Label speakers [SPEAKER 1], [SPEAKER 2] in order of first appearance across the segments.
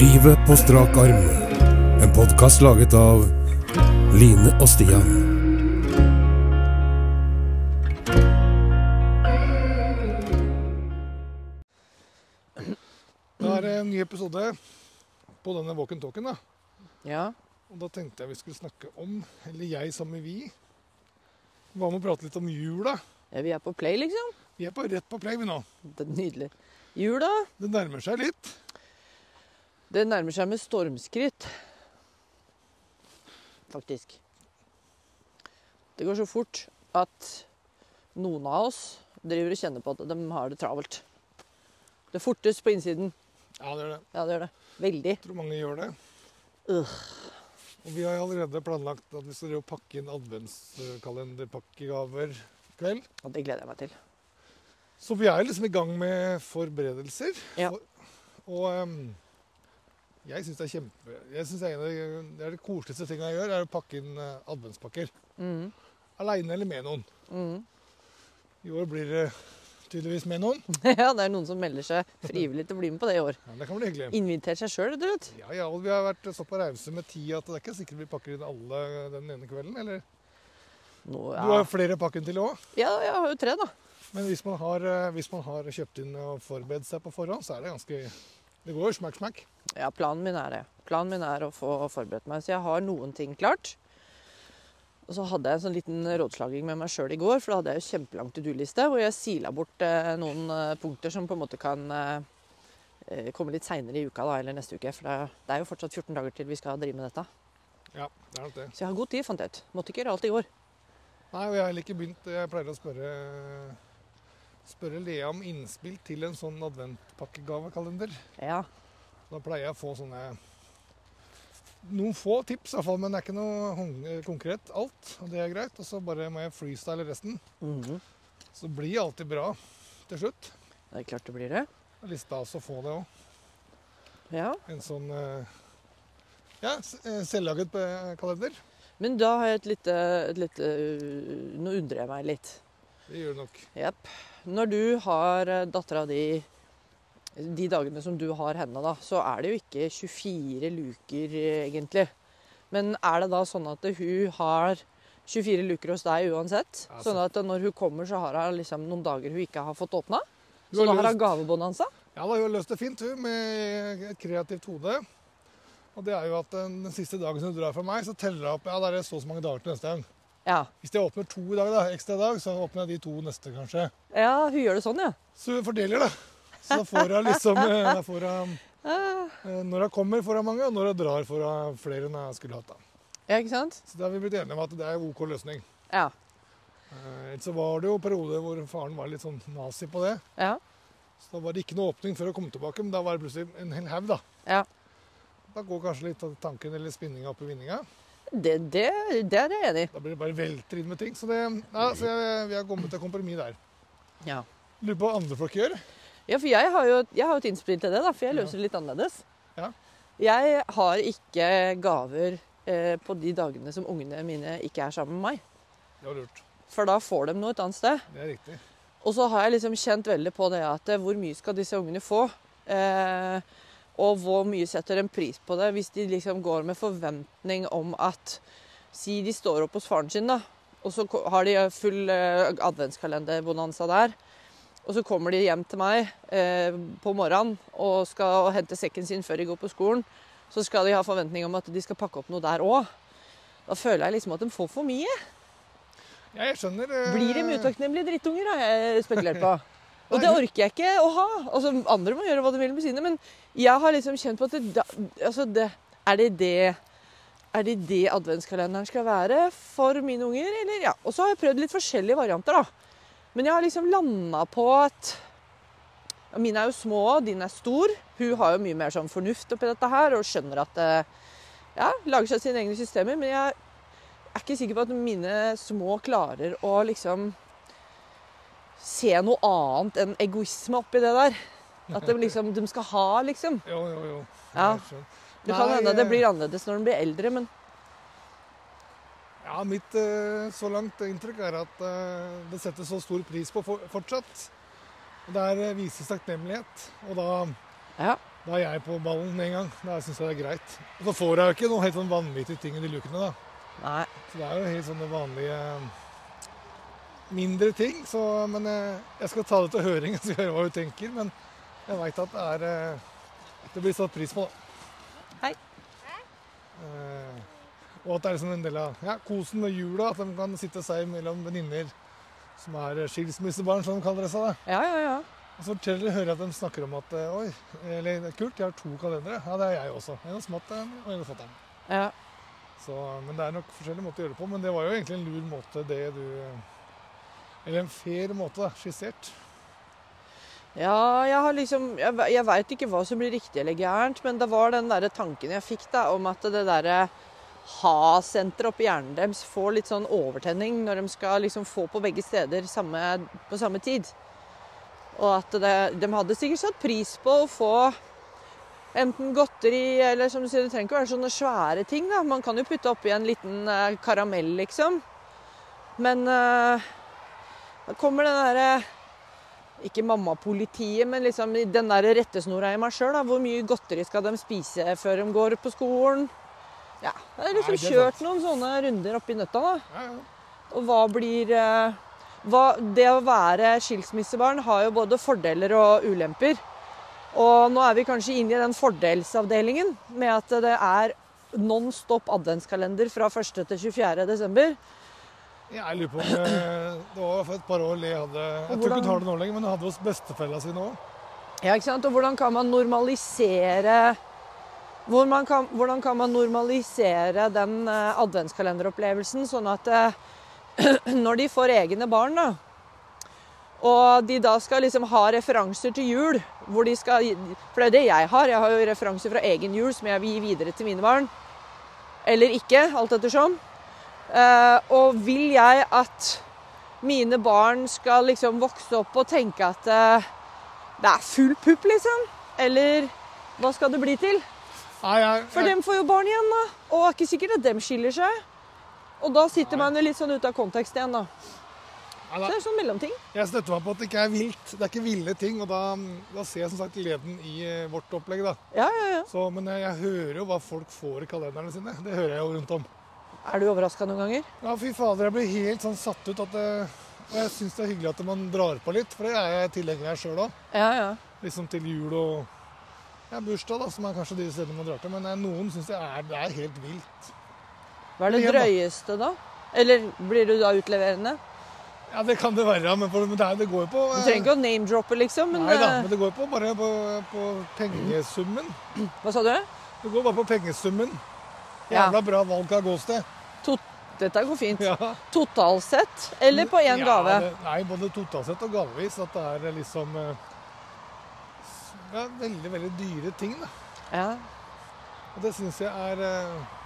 [SPEAKER 1] Livet på strak arm. En podkast laget av Line og Stian.
[SPEAKER 2] Da er det en ny episode på denne Walk and Talken. Da.
[SPEAKER 3] Ja.
[SPEAKER 2] Og da tenkte jeg vi skulle snakke om, eller jeg sammen med vi Hva med å prate litt om jula?
[SPEAKER 3] ja, vi er på play, liksom.
[SPEAKER 2] Vi er på rett på play vi nå.
[SPEAKER 3] Det er nydelig. Jula
[SPEAKER 2] Det nærmer seg litt.
[SPEAKER 3] det nærmer seg med stormskritt. Faktisk. Det går så fort at noen av oss driver og kjenner på at de har det travelt. Det fortes på innsiden.
[SPEAKER 2] Ja, det er det.
[SPEAKER 3] Ja, det gjør det. Veldig.
[SPEAKER 2] Jeg tror mange gjør det.
[SPEAKER 3] Øh.
[SPEAKER 2] Og vi har allerede planlagt at vi skal drive og pakke inn adventskalenderpakkegaver i kveld.
[SPEAKER 3] Og det gleder jeg meg til.
[SPEAKER 2] Så vi er liksom i gang med forberedelser.
[SPEAKER 3] Ja.
[SPEAKER 2] Og, og em, jeg syns det er kjempe Jeg synes det, er en av de- det er det koseligste tinga jeg gjør, er å pakke inn eh, adventspakker.
[SPEAKER 3] Mhm.
[SPEAKER 2] Aleine eller med noen.
[SPEAKER 3] Mhm.
[SPEAKER 2] I år blir det tydeligvis med noen.
[SPEAKER 3] Ja, det er noen som melder seg frivillig til å bli med på det i år.
[SPEAKER 2] Ja, det kan bli hyggelig.
[SPEAKER 3] Invitert seg sjøl, du vet.
[SPEAKER 2] Ja, ja, og Vi har vært såpass rause med tid at det er ikke sikkert vi pakker inn alle den ene kvelden. eller?
[SPEAKER 3] Nå,
[SPEAKER 2] Du har
[SPEAKER 3] ja.
[SPEAKER 2] jo flere pakken til òg.
[SPEAKER 3] ja, jeg har jo tre, da.
[SPEAKER 2] Men hvis man, har, eh, hvis man har kjøpt inn og forberedt seg på forhånd, så er det ganske Det går jo smakk, smakk.
[SPEAKER 3] Ja, planen min er det. Planen min er å få forberedt meg. Så jeg har noen ting klart. Og så hadde jeg en sånn liten rådslaging med meg sjøl i går, for da hadde jeg jo kjempelang to do-liste, hvor jeg sila bort eh, noen eh, punkter som på en måte kan eh, eh, komme litt seinere i uka, da, eller neste uke. For det, det er jo fortsatt 14 dager til vi skal drive med dette.
[SPEAKER 2] Ja, det er nok det.
[SPEAKER 3] Så jeg har god tid, fant jeg ut. Måtte ikke gjøre alt i går.
[SPEAKER 2] Nei, og jeg har heller ikke begynt. Jeg pleier å spørre, spørre Lea om innspill til en sånn adventpakkegavekalender.
[SPEAKER 3] Ja.
[SPEAKER 2] Da pleier jeg å få sånne noen få tips, i hvert fall, men det er ikke noe hon- konkret alt. Og det er greit. Og så bare må jeg freestyle resten.
[SPEAKER 3] Mhm.
[SPEAKER 2] Så blir det alltid bra til slutt.
[SPEAKER 3] Det er klart det blir det.
[SPEAKER 2] Det er litt stas å få det òg.
[SPEAKER 3] Ja.
[SPEAKER 2] En sånn eh, ja, s- eh, selvlaget eh, kalender.
[SPEAKER 3] Men da har jeg et lite, et lite øh, Nå undrer jeg meg litt.
[SPEAKER 2] Det gjør det nok.
[SPEAKER 3] Jepp. Når du har eh, dattera di de dagene som du har henne, da, så er det jo ikke 24 luker, eh, egentlig. Men er det da sånn at hun har 24 luker hos deg uansett?
[SPEAKER 2] Ja, altså.
[SPEAKER 3] Sånn at når hun kommer, så har hun liksom noen dager hun ikke har fått åpna?
[SPEAKER 2] Du
[SPEAKER 3] Så
[SPEAKER 2] har
[SPEAKER 3] da
[SPEAKER 2] lyst-
[SPEAKER 3] har hun altså? gavebonanza?
[SPEAKER 2] Ja, da har hun løst det fint, hun, med et kreativt hode. Og det er jo at eh, den den siste dagen som hun drar fra meg, så teller hun opp ja, da er det så og så mange dager til neste gang.
[SPEAKER 3] Ja.
[SPEAKER 2] Hvis jeg åpner to i dag, da, ekstra i dag, så åpner jeg de to neste, kanskje.
[SPEAKER 3] ja, hun gjør det sånn, ja.
[SPEAKER 2] Så hun fordeler, da. Så da får hun liksom eh, da får hun, eh, Når hun kommer, får hun mange, og når hun drar, får hun flere enn jeg skulle hatt. da.
[SPEAKER 3] Ja, ikke sant?
[SPEAKER 2] Så da har vi blitt enige om at det er en OK løsning.
[SPEAKER 3] Ja.
[SPEAKER 2] Eh, Ellers så var det jo perioder hvor faren var litt sånn nazi på det.
[SPEAKER 3] Ja.
[SPEAKER 2] Så da var det ikke noe åpning før hun kom tilbake, men da var det plutselig en hel haug, da.
[SPEAKER 3] ja.
[SPEAKER 2] Da går kanskje litt av tanken eller spinninga opp i vinninga.
[SPEAKER 3] Det, det, det er jeg enig i.
[SPEAKER 2] Da blir det bare velter inn med ting. Så, det, ja, så jeg, vi har kommet til kompromiss der.
[SPEAKER 3] Ja.
[SPEAKER 2] Lurer på hva andre folk gjør.
[SPEAKER 3] Ja, for jeg har jo, jeg har jo et innspill til det, da, for jeg løser det litt annerledes.
[SPEAKER 2] Ja.
[SPEAKER 3] Jeg har ikke gaver eh, på de dagene som ungene mine ikke er sammen med meg.
[SPEAKER 2] Det var lurt.
[SPEAKER 3] For da får de noe et annet sted.
[SPEAKER 2] Det er riktig.
[SPEAKER 3] Og så har jeg liksom kjent veldig på det at eh, hvor mye skal disse ungene få? Eh, og hvor mye setter de pris på det hvis de liksom går med forventning om at Si de står opp hos faren sin, da, og så ko- har de full eh, adventskalenderbonanza der. Og så kommer de hjem til meg eh, på morgenen og skal hente sekken sin før de går på skolen. Så skal de ha forventning om at de skal pakke opp noe der òg. Da føler jeg liksom at de får for mye.
[SPEAKER 2] Ja, jeg skjønner. eh,
[SPEAKER 3] Blir de utakknemlige drittunger, har jeg spekulert på. Og det orker jeg ikke å ha. Altså, andre må gjøre hva de vil med sine, men jeg har liksom kjent på at det, da- altså, det, er, det det, er det det adventskalenderen skal være for mine unger? Eller, ja. Og så har jeg prøvd litt forskjellige varianter, da. Men jeg har liksom landa på at ja, Mine er jo små, din er stor. Hun har jo mye mer sånn fornuft oppi dette her og skjønner at eh, Ja, lager seg sine egne systemer, men jeg er ikke sikker på at mine små klarer å liksom se noe annet enn egoisme oppi det der. At de liksom De skal ha, liksom.
[SPEAKER 2] Jo, jo, jo.
[SPEAKER 3] Ja.
[SPEAKER 2] Jeg skjønner.
[SPEAKER 3] Det kan
[SPEAKER 2] Nei,
[SPEAKER 3] hende det
[SPEAKER 2] eh,
[SPEAKER 3] blir annerledes når de blir eldre, men
[SPEAKER 2] Ja, mitt eh, så langt inntrykk er at eh, det settes så stor pris på for, fortsatt. Og Der eh, vises takknemlighet. Og da,
[SPEAKER 3] ja.
[SPEAKER 2] Da er jeg på ballen med en gang. Da syns jeg det er greit. Og så får jeg jo ikke noe helt sånn vanvittige ting i de lukene, da.
[SPEAKER 3] Nei.
[SPEAKER 2] Så det er jo helt sånne vanlige eh, mindre ting. Så, men eh, jeg skal ta det til høring og høre hva hun tenker. Men jeg veit at det er eh, Det blir satt pris på, da.
[SPEAKER 3] Hei.
[SPEAKER 2] Eh, Og at det er liksom en del av ja, kosen med jula, at de kan sitte seg mellom venninner som er eh, skilsmissebarn, som de kaller det seg. da.
[SPEAKER 3] Ja, ja, ja.
[SPEAKER 2] Og så forteller de, hører jeg at de snakker om at eh, Oi, eller det er kult, jeg har to kalendere. Ja, det er jeg også. En hos matteren og en hos fatter'n.
[SPEAKER 3] ja.
[SPEAKER 2] Så, men det er nok forskjellige måter å gjøre det på. Men det var jo egentlig en lur måte, det du Eller en fair måte, da, skissert.
[SPEAKER 3] Ja, jeg har liksom Jeg, ve- jeg veit ikke hva som blir riktig eller gærent, men det var den derre tanken jeg fikk, da, om at det derre ha-senteret oppi hjernen deres får litt sånn overtenning når de skal liksom få på begge steder samme, på samme tid. Og at det, de hadde sikkert satt pris på å få enten godteri eller som du sier, det trenger ikke være sånne svære ting, da. Man kan jo putte oppi en liten eh, karamell, liksom. Men eh, da kommer den derre ikke mammapolitiet, men liksom i den der rettesnora i meg sjøl. Hvor mye godteri skal de spise før de går på skolen? Ja, Jeg har liksom
[SPEAKER 2] Nei, det er
[SPEAKER 3] kjørt noen sånne runder oppi nøtta. da.
[SPEAKER 2] Ja, ja.
[SPEAKER 3] Og hva blir eh, hva, Det å være skilsmissebarn har jo både fordeler og ulemper. Og nå er vi kanskje inne i den fordelsavdelingen med at det er non stop adventskalender fra 1. til 24. desember.
[SPEAKER 2] Jeg lurer på om eh, Det var for et par år Lee hadde Jeg tror ikke hun har det nå lenger, men hun hadde hos bestefella si nå.
[SPEAKER 3] Ja, ikke sant? Og hvordan kan man normalisere hvor man kan, Hvordan kan man normalisere den eh, adventskalenderopplevelsen, sånn at eh, når de får egne barn, da og de da skal liksom ha referanser til jul hvor de skal, For det er det jeg har. Jeg har jo referanser fra egen jul som jeg vil gi videre til mine barn. Eller ikke, alt ettersom. Eh, og vil jeg at mine barn skal liksom vokse opp og tenke at eh, det er full pupp, liksom. Eller hva skal det bli til?
[SPEAKER 2] Nei, jeg,
[SPEAKER 3] For
[SPEAKER 2] jeg,
[SPEAKER 3] dem får jo barn igjen, da. Og det er ikke sikkert at dem skiller seg. Og da sitter man jo litt sånn ute av kontekst igjen, da.
[SPEAKER 2] nei,
[SPEAKER 3] Så
[SPEAKER 2] da-
[SPEAKER 3] det er sånn mellomting.
[SPEAKER 2] jeg støtter meg på at det ikke er vilt. Det er ikke ville ting. Og da, da ser jeg som sagt gleden i eh, vårt opplegg, da.
[SPEAKER 3] Ja, ja, ja.
[SPEAKER 2] Så, men eh, jeg, jeg hører jo hva folk får i kalenderne sine. Det hører jeg jo rundt om.
[SPEAKER 3] Er du overraska noen ganger?
[SPEAKER 2] Ja, fy fader, jeg blir helt sånn satt ut at det, Og jeg syns det er hyggelig at man drar på litt, for det er jeg tilhenger av sjøl òg.
[SPEAKER 3] Ja, ja.
[SPEAKER 2] liksom til jul og ja, bursdag, da, som er kanskje de stedene man drar til. Men eh, noen syns det, er- det er helt vilt.
[SPEAKER 3] Hva er det
[SPEAKER 2] Igjen, da.
[SPEAKER 3] drøyeste, da? Eller blir du da utleverende?
[SPEAKER 2] Ja, det kan det være, men, for, men det, er- det går jo på eh,
[SPEAKER 3] Du trenger ikke å name-droppe, liksom. Men,
[SPEAKER 2] Nei da,
[SPEAKER 3] eh,
[SPEAKER 2] men det går på bare på, på pengesummen.
[SPEAKER 3] Hva sa du?
[SPEAKER 2] Det går bare på pengesummen.
[SPEAKER 3] Ja.
[SPEAKER 2] Jævla bra valg av gåsted.
[SPEAKER 3] To Dette går fint.
[SPEAKER 2] Ja.
[SPEAKER 3] Totalt sett, eller på én
[SPEAKER 2] Ja,
[SPEAKER 3] gave?
[SPEAKER 2] det- nei, både totalt sett og gavevis. At det er liksom eh, s- ja, veldig, veldig dyre ting, da.
[SPEAKER 3] Ja.
[SPEAKER 2] Og det syns jeg er eh,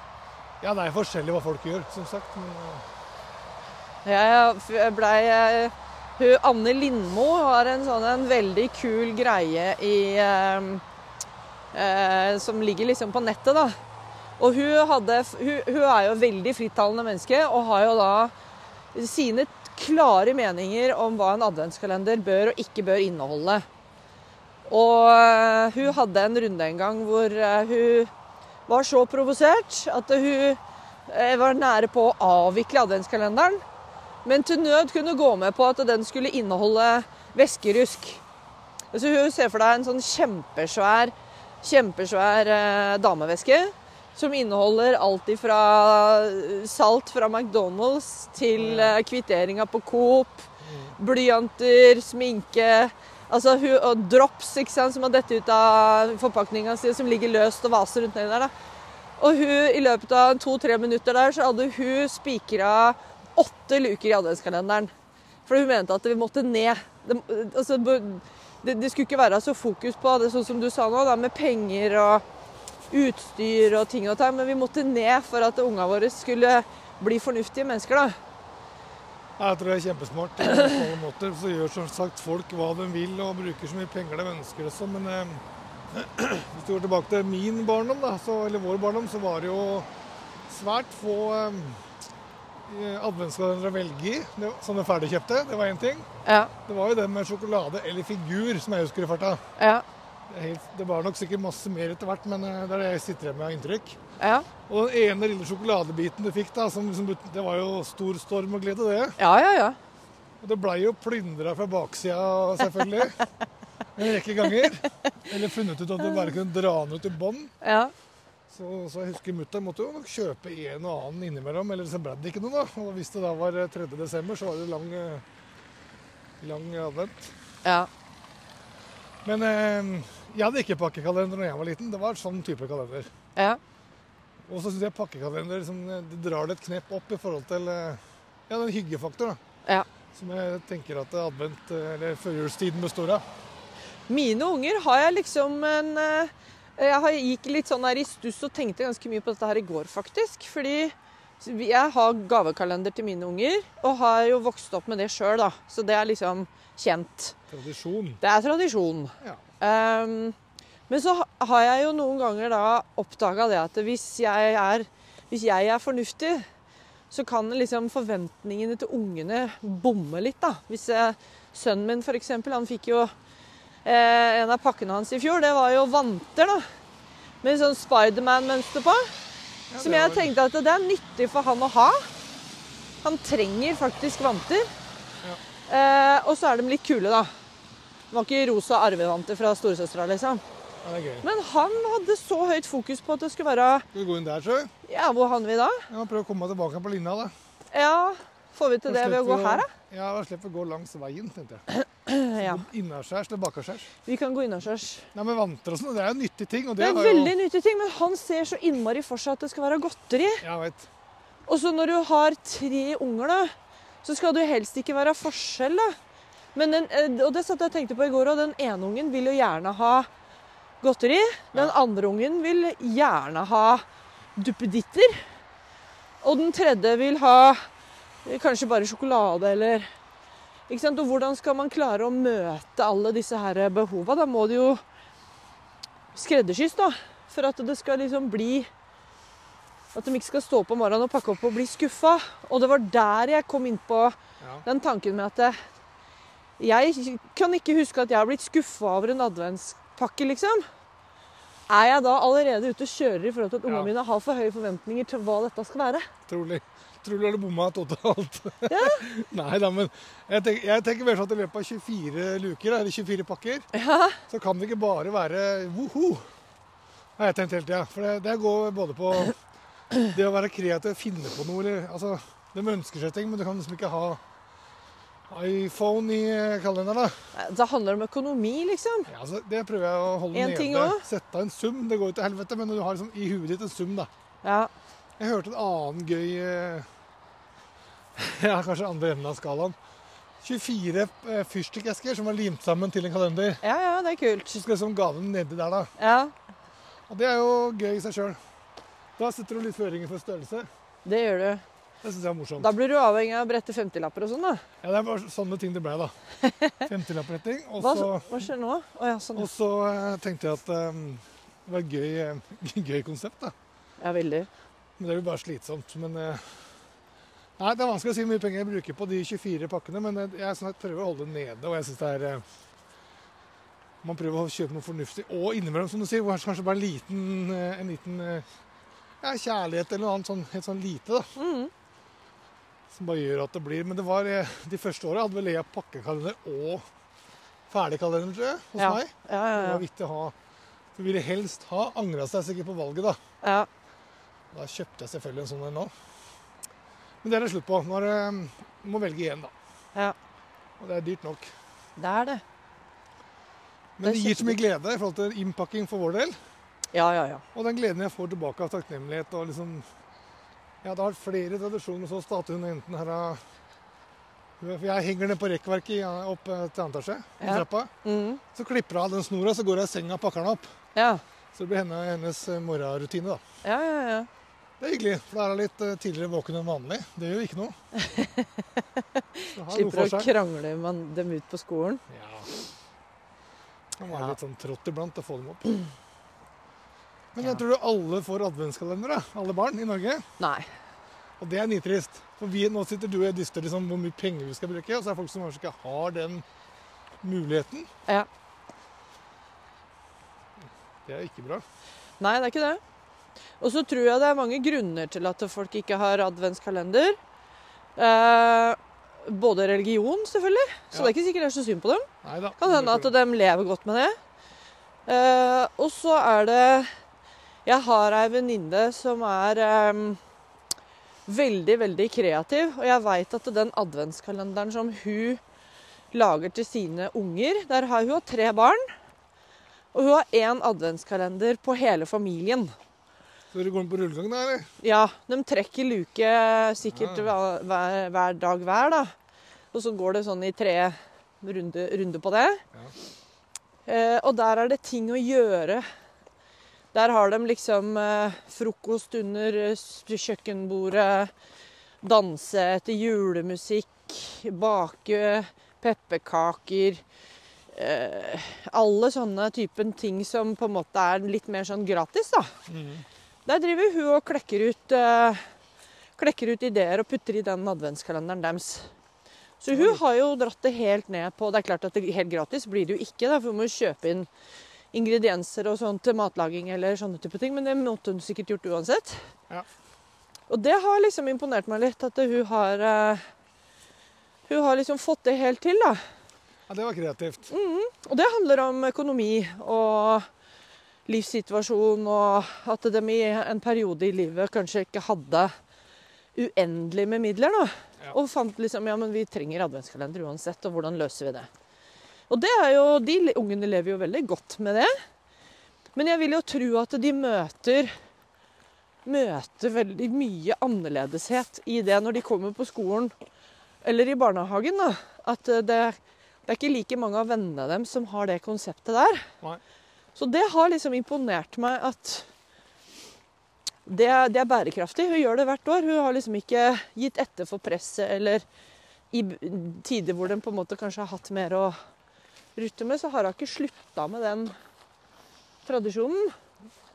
[SPEAKER 2] Ja, det er forskjellig hva folk gjør, som sagt. Men, eh,
[SPEAKER 3] Jeg f- blei eh, Hun Anne Lindmo har en sånn en veldig kul greie i eh, eh, Som ligger liksom på nettet, da. Og hun hadde f- Hun, hun er jo veldig frittalende menneske og har jo da sine klare meninger om hva en adventskalender bør og ikke bør inneholde. Og eh, hun hadde en runde en gang hvor eh, hun var så provosert at hun eh, var nære på å avvikle adventskalenderen. Men til nød kunne gå med på at den skulle inneholde væskerusk. Så hun ser for deg en sånn kjempesvær, kjempesvær eh, dameveske som inneholder alt ifra eh, salt fra McDonald's til eh, kvitteringa på Coop, blyanter, sminke Altså hun, og drops ikke sant, som har dette ut av forpakninga si, som ligger løst og vaser rundt nedi der. da. Og hun, i løpet av to-tre minutter der, så hadde hun spikra åtte luker i adventskalenderen. For hun mente at vi måtte ned. Det, altså, det, det skulle ikke være så fokus på det, sånn som du sa nå, da, med penger og utstyr og ting og tang, men vi måtte ned for at unga våre skulle bli fornuftige mennesker, da.
[SPEAKER 2] Jeg tror det er kjempesmart eh, på alle måter. Så gjør som sagt folk hva de vil og bruker så mye penger de ønsker også. Men eh, hvis du går tilbake til min barndom, da, så, eller vår barndom, så var det jo svært få eh, adventskalendere å velge i. Det var- Sånne ferdigkjøpte, det var én ting.
[SPEAKER 3] Ja,
[SPEAKER 2] Det var jo den med sjokolade eller figur som jeg husker i farta.
[SPEAKER 3] ja,
[SPEAKER 2] Det er helt- Det var nok sikkert masse mer etter hvert, men eh, det er det jeg sitter igjen med av inntrykk.
[SPEAKER 3] Ja,
[SPEAKER 2] Og den ene lille sjokoladebiten du fikk, da, som, som, det var jo stor storm og glede, det.
[SPEAKER 3] ja, ja. ja.
[SPEAKER 2] Og det blei jo plyndra fra baksida, selvfølgelig. En rekke ganger. Eller funnet ut at du bare kunne dra den ut i bånn.
[SPEAKER 3] ja.
[SPEAKER 2] Så, så jeg husker mutter'n måtte jo nok kjøpe en og annen innimellom, eller så ble det ikke noe, da. Og hvis det da var eh, 3. desember, så var det lang, eh, lang advent.
[SPEAKER 3] ja.
[SPEAKER 2] Men eh, jeg hadde ikke pakkekalender når jeg var liten. Det var sånn type kalender.
[SPEAKER 3] Ja,
[SPEAKER 2] Og så syns jeg pakkekalender liksom, det drar det et knepp opp i forhold til eh, ja, den hyggefaktor, da.
[SPEAKER 3] ja.
[SPEAKER 2] Som jeg tenker at advent, eh, eller førjulstiden, består av.
[SPEAKER 3] Mine unger har jeg liksom en eh, Jeg har, gikk litt sånn her i stuss og tenkte ganske mye på dette her i går, faktisk. Fordi vi- jeg har gavekalender til mine unger, og har jo vokst opp med det sjøl, da. Så det er liksom kjent.
[SPEAKER 2] Tradisjon.
[SPEAKER 3] Det er tradisjon.
[SPEAKER 2] Ja.
[SPEAKER 3] Ehm, men så ha- har jeg jo noen ganger da oppdaga det at hvis jeg, er, hvis jeg er fornuftig, så kan liksom forventningene til ungene bomme litt, da. Hvis eh, sønnen min f.eks., han fikk jo eh, En av pakkene hans i fjor, det var jo vanter, da. Med sånn Spiderman-mønster på.
[SPEAKER 2] Ja,
[SPEAKER 3] Som
[SPEAKER 2] det
[SPEAKER 3] jeg
[SPEAKER 2] var-
[SPEAKER 3] tenkte at det er nyttig for han å ha. Han trenger faktisk vanter. Eh, og så er de litt kule, da. Det var ikke rosa arvevanter fra storesøstera, liksom.
[SPEAKER 2] Ja, det er gøy.
[SPEAKER 3] Men han hadde så høyt fokus på at det skulle være
[SPEAKER 2] Skal vi gå inn der, sjø?
[SPEAKER 3] Ja, hvor havner vi da?
[SPEAKER 2] Jeg må prøve å komme meg tilbake på linja, da.
[SPEAKER 3] Ja, får vi til det ved å gå her, da?
[SPEAKER 2] Ja, da slipper vi å gå langs veien, tenkte jeg.
[SPEAKER 3] Ja.
[SPEAKER 2] Innaskjærs eller bakerskjærs.
[SPEAKER 3] Vi kan gå innaskjørs.
[SPEAKER 2] Nei, men vanter og sånn, det er jo nyttige ting. Og
[SPEAKER 3] Det
[SPEAKER 2] det,
[SPEAKER 3] er
[SPEAKER 2] har
[SPEAKER 3] veldig nyttige ting, men han ser så innmari for seg at det skal være godteri.
[SPEAKER 2] Jo, jeg vet.
[SPEAKER 3] Og så når du har tre unger, da, så skal det jo helst ikke være forskjell, da. Men den, eh, og det satt jeg og tenkte på i går, og den ene ungen vil jo gjerne ha godteri. Den andre ungen vil gjerne ha duppeditter. Og den tredje vil ha eh, kanskje bare sjokolade eller ikke sant? Og hvordan skal man klare å møte alle disse her behova? Da må det jo skreddersys, da. For at det skal liksom bli at de ikke skal stå opp om morgenen og pakke opp og bli skuffa. Og det var der jeg kom inn på
[SPEAKER 2] Ja.
[SPEAKER 3] den tanken med at eh, jeg kan ikke huske at jeg har blitt skuffa over en adventspakke, liksom. Er jeg da allerede ute og kjører i forhold til at ungene
[SPEAKER 2] Ja.
[SPEAKER 3] mine har for høye forventninger til hva dette skal være?
[SPEAKER 2] Trolig. Trolig har du bomma totalt. Nei da, men jeg tenker, jeg tenker mer sånn at i løpet av 24 luker, da, eller 24 pakker, så kan det ikke bare være woho. Har jeg tenkt hele tida. For det, det går både på det å være kreativ, finne på noe eller Altså, de ønsker seg ting, men du kan liksom ikke ha iPhone i eh, kalenderen, da.
[SPEAKER 3] Da handler det om økonomi, liksom.
[SPEAKER 2] Ja, altså, det prøver jeg å holde
[SPEAKER 3] En ting
[SPEAKER 2] nede.
[SPEAKER 3] også?
[SPEAKER 2] Sette av en sum. Det går jo til helvete, men du har liksom i huet ditt en sum, da.
[SPEAKER 3] Ja.
[SPEAKER 2] Jeg hørte en annen gøy eh, Ja, kanskje andre enden av skalaen. 24 eh, fyrstikkesker som var limt sammen til en kalender.
[SPEAKER 3] ja, ja, det er kult.
[SPEAKER 2] Så skal liksom gaven nedi der, da.
[SPEAKER 3] Ja,
[SPEAKER 2] Og det er jo gøy i seg sjøl. Da setter du litt føringer for størrelse.
[SPEAKER 3] det gjør du.
[SPEAKER 2] Det syns jeg er morsomt.
[SPEAKER 3] Da blir du avhengig av å brette 50-lapper og sånn, da.
[SPEAKER 2] Ja, det er bare sånne ting det ble, da. 50-lappretting. Og
[SPEAKER 3] Hva,
[SPEAKER 2] så-
[SPEAKER 3] hva skjer nå? Å ja, sånn.
[SPEAKER 2] og så eh, tenkte jeg at eh, det var et gøy, eh, gøy konsept, da.
[SPEAKER 3] Ja, veldig.
[SPEAKER 2] Men det er jo bare slitsomt. Men eh, Nei, det er vanskelig å si hvor mye penger jeg bruker på de 24 pakkene, men jeg, jeg er sånn at prøver å holde det nede. Og jeg synes det er eh, Man prøver å kjøpe noe fornuftig. Og innimellom, som du sier, hvor kanskje bare en liten, eh, en liten eh, ja, kjærlighet eller noe annet sånn, helt sånn lite, da.
[SPEAKER 3] Mhm.
[SPEAKER 2] Som bare gjør at det blir Men det var eh, de første åra hadde vel jeg pakkekalender og ferdigkalender, tror jeg, hos
[SPEAKER 3] Ja.
[SPEAKER 2] meg.
[SPEAKER 3] Ja,
[SPEAKER 2] Det
[SPEAKER 3] ja,
[SPEAKER 2] var viktig å ha. For ville helst ha angra seg sikkert på valget, da.
[SPEAKER 3] ja. ja.
[SPEAKER 2] Da kjøpte jeg selvfølgelig en sånn en nå. Men det er det slutt på. Nå er det, du må velge igjen, da.
[SPEAKER 3] Ja.
[SPEAKER 2] Og det er dyrt nok.
[SPEAKER 3] Det er det.
[SPEAKER 2] Men
[SPEAKER 3] Det er
[SPEAKER 2] det, gir så mye glede i forhold til innpakking for vår del.
[SPEAKER 3] Ja, ja, ja.
[SPEAKER 2] Og den gleden jeg får tilbake av takknemlighet og liksom Ja, det har vært flere tradisjoner hos oss. da, at Hun enten her har For jeg henger ned på rekkverket ja, opp eh, til andre etasje. i
[SPEAKER 3] Ja.
[SPEAKER 2] Trappa.
[SPEAKER 3] Mhm.
[SPEAKER 2] Så klipper jeg av den snora, så går jeg i senga og pakker den opp.
[SPEAKER 3] Ja,
[SPEAKER 2] Så det blir henne, hennes eh, morgenrutine, da.
[SPEAKER 3] ja, ja. ja.
[SPEAKER 2] Det er hyggelig. For da er hun litt eh, tidligere våken enn vanlig. Det gjør jo ikke noe. Det har noe
[SPEAKER 3] Slipper
[SPEAKER 2] for
[SPEAKER 3] å
[SPEAKER 2] seg.
[SPEAKER 3] krangle man dem ut på skolen.
[SPEAKER 2] Ja. Det må være litt sånn trått iblant å få dem opp. Men
[SPEAKER 3] Ja.
[SPEAKER 2] jeg tror alle får adventskalender, da. alle barn i Norge.
[SPEAKER 3] Nei.
[SPEAKER 2] Og det er nitrist. For vi, nå sitter du og jeg dyster liksom hvor mye penger vi skal bruke, og så er det folk som kanskje ikke har den muligheten.
[SPEAKER 3] Ja.
[SPEAKER 2] Det er ikke bra.
[SPEAKER 3] Nei, det er ikke det. Og så tror jeg det er mange grunner til at folk ikke har adventskalender. Eh, både religion, selvfølgelig. Så
[SPEAKER 2] Ja.
[SPEAKER 3] det er ikke sikkert det er så synd på dem.
[SPEAKER 2] Nei da.
[SPEAKER 3] Kan hende at de lever godt med det. Eh, og så er det Jeg har ei venninne som er eh, veldig, veldig kreativ. Og jeg veit at den adventskalenderen som hun lager til sine unger Der har hun tre barn. Og hun har én adventskalender på hele familien.
[SPEAKER 2] Så dere går den på rullegang, da, eller?
[SPEAKER 3] Ja, de trekker luke sikkert hver, hver- hver dag hver, da. Og så går det sånn i tre runde, runder på det. Eh, og der er det ting å gjøre. Der har de liksom eh, frokost under eh, s- kjøkkenbordet, danse etter julemusikk, bake pepperkaker eh, Alle sånne typen ting som på en måte er litt mer sånn gratis, da. Der driver hun og klekker ut, eh, klekker ut ideer og putter i den adventskalenderen deres. Så hun har jo dratt det helt ned på Det er klart at det helt gratis blir det jo ikke, da, for hun må jo kjøpe inn ingredienser og sånn til matlaging eller sånne type ting, men det måtte hun sikkert gjort uansett.
[SPEAKER 2] Ja.
[SPEAKER 3] Og det har liksom imponert meg litt, at hun har eh, Hun har liksom fått det helt til, da.
[SPEAKER 2] Ja, det var kreativt.
[SPEAKER 3] Og det handler om økonomi og livssituasjon, og at de i en periode i livet kanskje ikke hadde uendelig med midler. Da.
[SPEAKER 2] Ja.
[SPEAKER 3] Og fant liksom ja, men vi trenger adventskalender uansett, og hvordan løser vi det? Og det er jo, de le- ungene lever jo veldig godt med det. Men jeg vil jo tro at de møter møter veldig mye annerledeshet i det når de kommer på skolen eller i barnehagen. da. At eh, det, det er ikke like mange av vennene dem som har det konseptet der.
[SPEAKER 2] Nei.
[SPEAKER 3] Så det har liksom imponert meg at det, er- det er bærekraftig. Hun gjør det hvert år. Hun har liksom ikke gitt etter for presset eller i b- tider hvor de på en måte kanskje har hatt mer å rutte med, så har hun ikke slutta med den tradisjonen.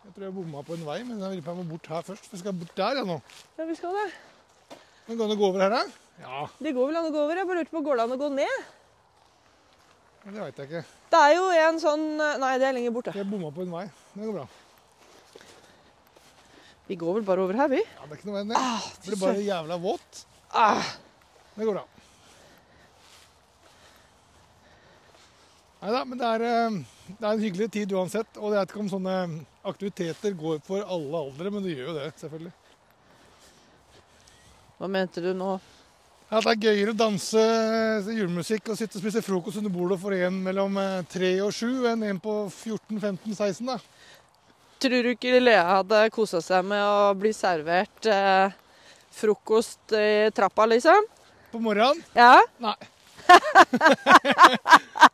[SPEAKER 2] Jeg tror jeg bomma på en vei, men jeg vil på meg bort her først. For jeg skal bort der, jeg nå.
[SPEAKER 3] Ja, vi skal det.
[SPEAKER 2] Men kan du gå over her, da? Ja,
[SPEAKER 3] Det går vel an å gå over? Jeg bare lurte på, går det an å gå ned?
[SPEAKER 2] men det veit jeg ikke.
[SPEAKER 3] Det er jo en sånn Nei, det er lenger borte.
[SPEAKER 2] Jeg bomma på en vei. Men det går bra.
[SPEAKER 3] Vi går vel bare over her, vi.
[SPEAKER 2] Ja, det er ikke noe vei ned. Det blir bare jævla våt.
[SPEAKER 3] Ah,
[SPEAKER 2] Det går bra. Nei da, men det er, eh, det er en hyggelig tid uansett. Og jeg vet ikke om sånne eh, aktiviteter går for alle aldre, men det gjør jo det, selvfølgelig.
[SPEAKER 3] hva mente du nå?
[SPEAKER 2] Ja, det er gøyere å danse eh, julemusikk og sitte og spise frokost under bordet for en mellom eh, tre og sju enn en på 14, 15, 16, da.
[SPEAKER 3] Tror du ikke Lea hadde kosa seg med å bli servert eh, frokost i trappa, liksom?
[SPEAKER 2] På morgenen.
[SPEAKER 3] Ja?
[SPEAKER 2] Nei.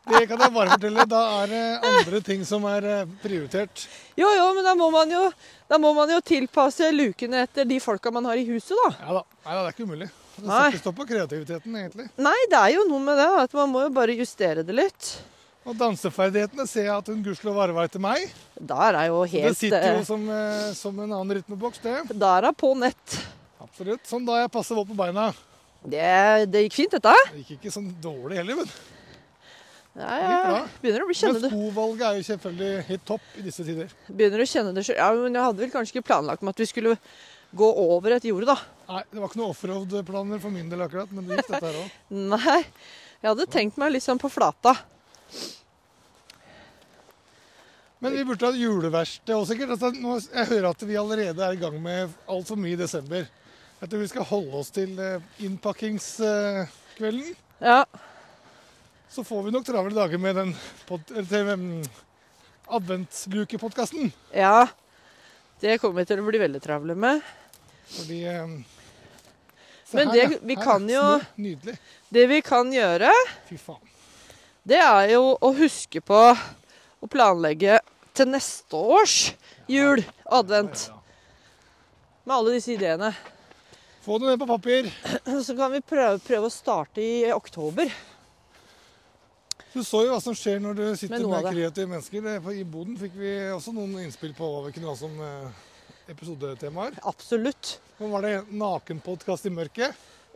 [SPEAKER 2] det kan jeg bare fortelle. Da er det andre ting som er eh, prioritert.
[SPEAKER 3] Jo, jo, men da må man jo, da må man jo tilpasse lukene etter de folka man har i huset, da.
[SPEAKER 2] Ja da. Nei, da, det er ikke umulig. Det
[SPEAKER 3] Nei.
[SPEAKER 2] setter stopp på kreativiteten, egentlig.
[SPEAKER 3] Nei, det er jo noe med det, at man må jo bare justere det litt.
[SPEAKER 2] Og danseferdighetene ser jeg at hun gudskjelov arva etter meg.
[SPEAKER 3] Der er jo
[SPEAKER 2] Det
[SPEAKER 3] helt
[SPEAKER 2] sitter jo sånn. som,
[SPEAKER 3] eh,
[SPEAKER 2] eh, som en annen rytmeboks, det.
[SPEAKER 3] Der er på nett.
[SPEAKER 2] Absolutt. Sånn da jeg passer godt på beina.
[SPEAKER 3] Det, det gikk fint, dette.
[SPEAKER 2] Det gikk ikke sånn dårlig heller, men,
[SPEAKER 3] Ja,
[SPEAKER 2] Gikk
[SPEAKER 3] ja.
[SPEAKER 2] bra.
[SPEAKER 3] Begynner å bli
[SPEAKER 2] men
[SPEAKER 3] kjenne det.
[SPEAKER 2] skovalget er jo selvfølgelig helt topp i disse tider.
[SPEAKER 3] Begynner å kjenne det sjøl. Ja, men jeg hadde vel kanskje ikke planlagt med at vi skulle gå over et jorde, da.
[SPEAKER 2] Nei, det var ikke noe offroad-planer for min del akkurat, men det gikk dette her òg.
[SPEAKER 3] Nei, jeg hadde tenkt meg litt sånn på flata.
[SPEAKER 2] Men vi burde ha et juleverksted òg, sikkert. Altså, nå, jeg hører at vi allerede er i gang med altfor mye i desember. Jeg tror vi skal holde oss til eh, innpakkingskvelden.
[SPEAKER 3] Ja,
[SPEAKER 2] så får vi nok travle dager med den pod- eller til, um, adventsbrukerpodkasten.
[SPEAKER 3] ja. Det kommer vi til å bli veldig travle med.
[SPEAKER 2] Fordi um, se
[SPEAKER 3] Men det- vi
[SPEAKER 2] er
[SPEAKER 3] kan jo-
[SPEAKER 2] snø. Nydelig.
[SPEAKER 3] Det vi kan gjøre,
[SPEAKER 2] Fy faen.
[SPEAKER 3] det er jo å huske på å planlegge til neste års jul, advent,
[SPEAKER 2] Ja, ja.
[SPEAKER 3] med alle disse ideene.
[SPEAKER 2] Få det ned på papir.
[SPEAKER 3] Så kan vi prøve, prøve å starte i oktober.
[SPEAKER 2] Du så jo hva som skjer når du sitter
[SPEAKER 3] Med
[SPEAKER 2] med,
[SPEAKER 3] noe av
[SPEAKER 2] kreative mennesker. Det- på- I boden fikk vi også noen innspill på hva vi kunne ha som eh, episodetemaer.
[SPEAKER 3] Absolutt.
[SPEAKER 2] Hva var det? Nakenpodkast i mørket?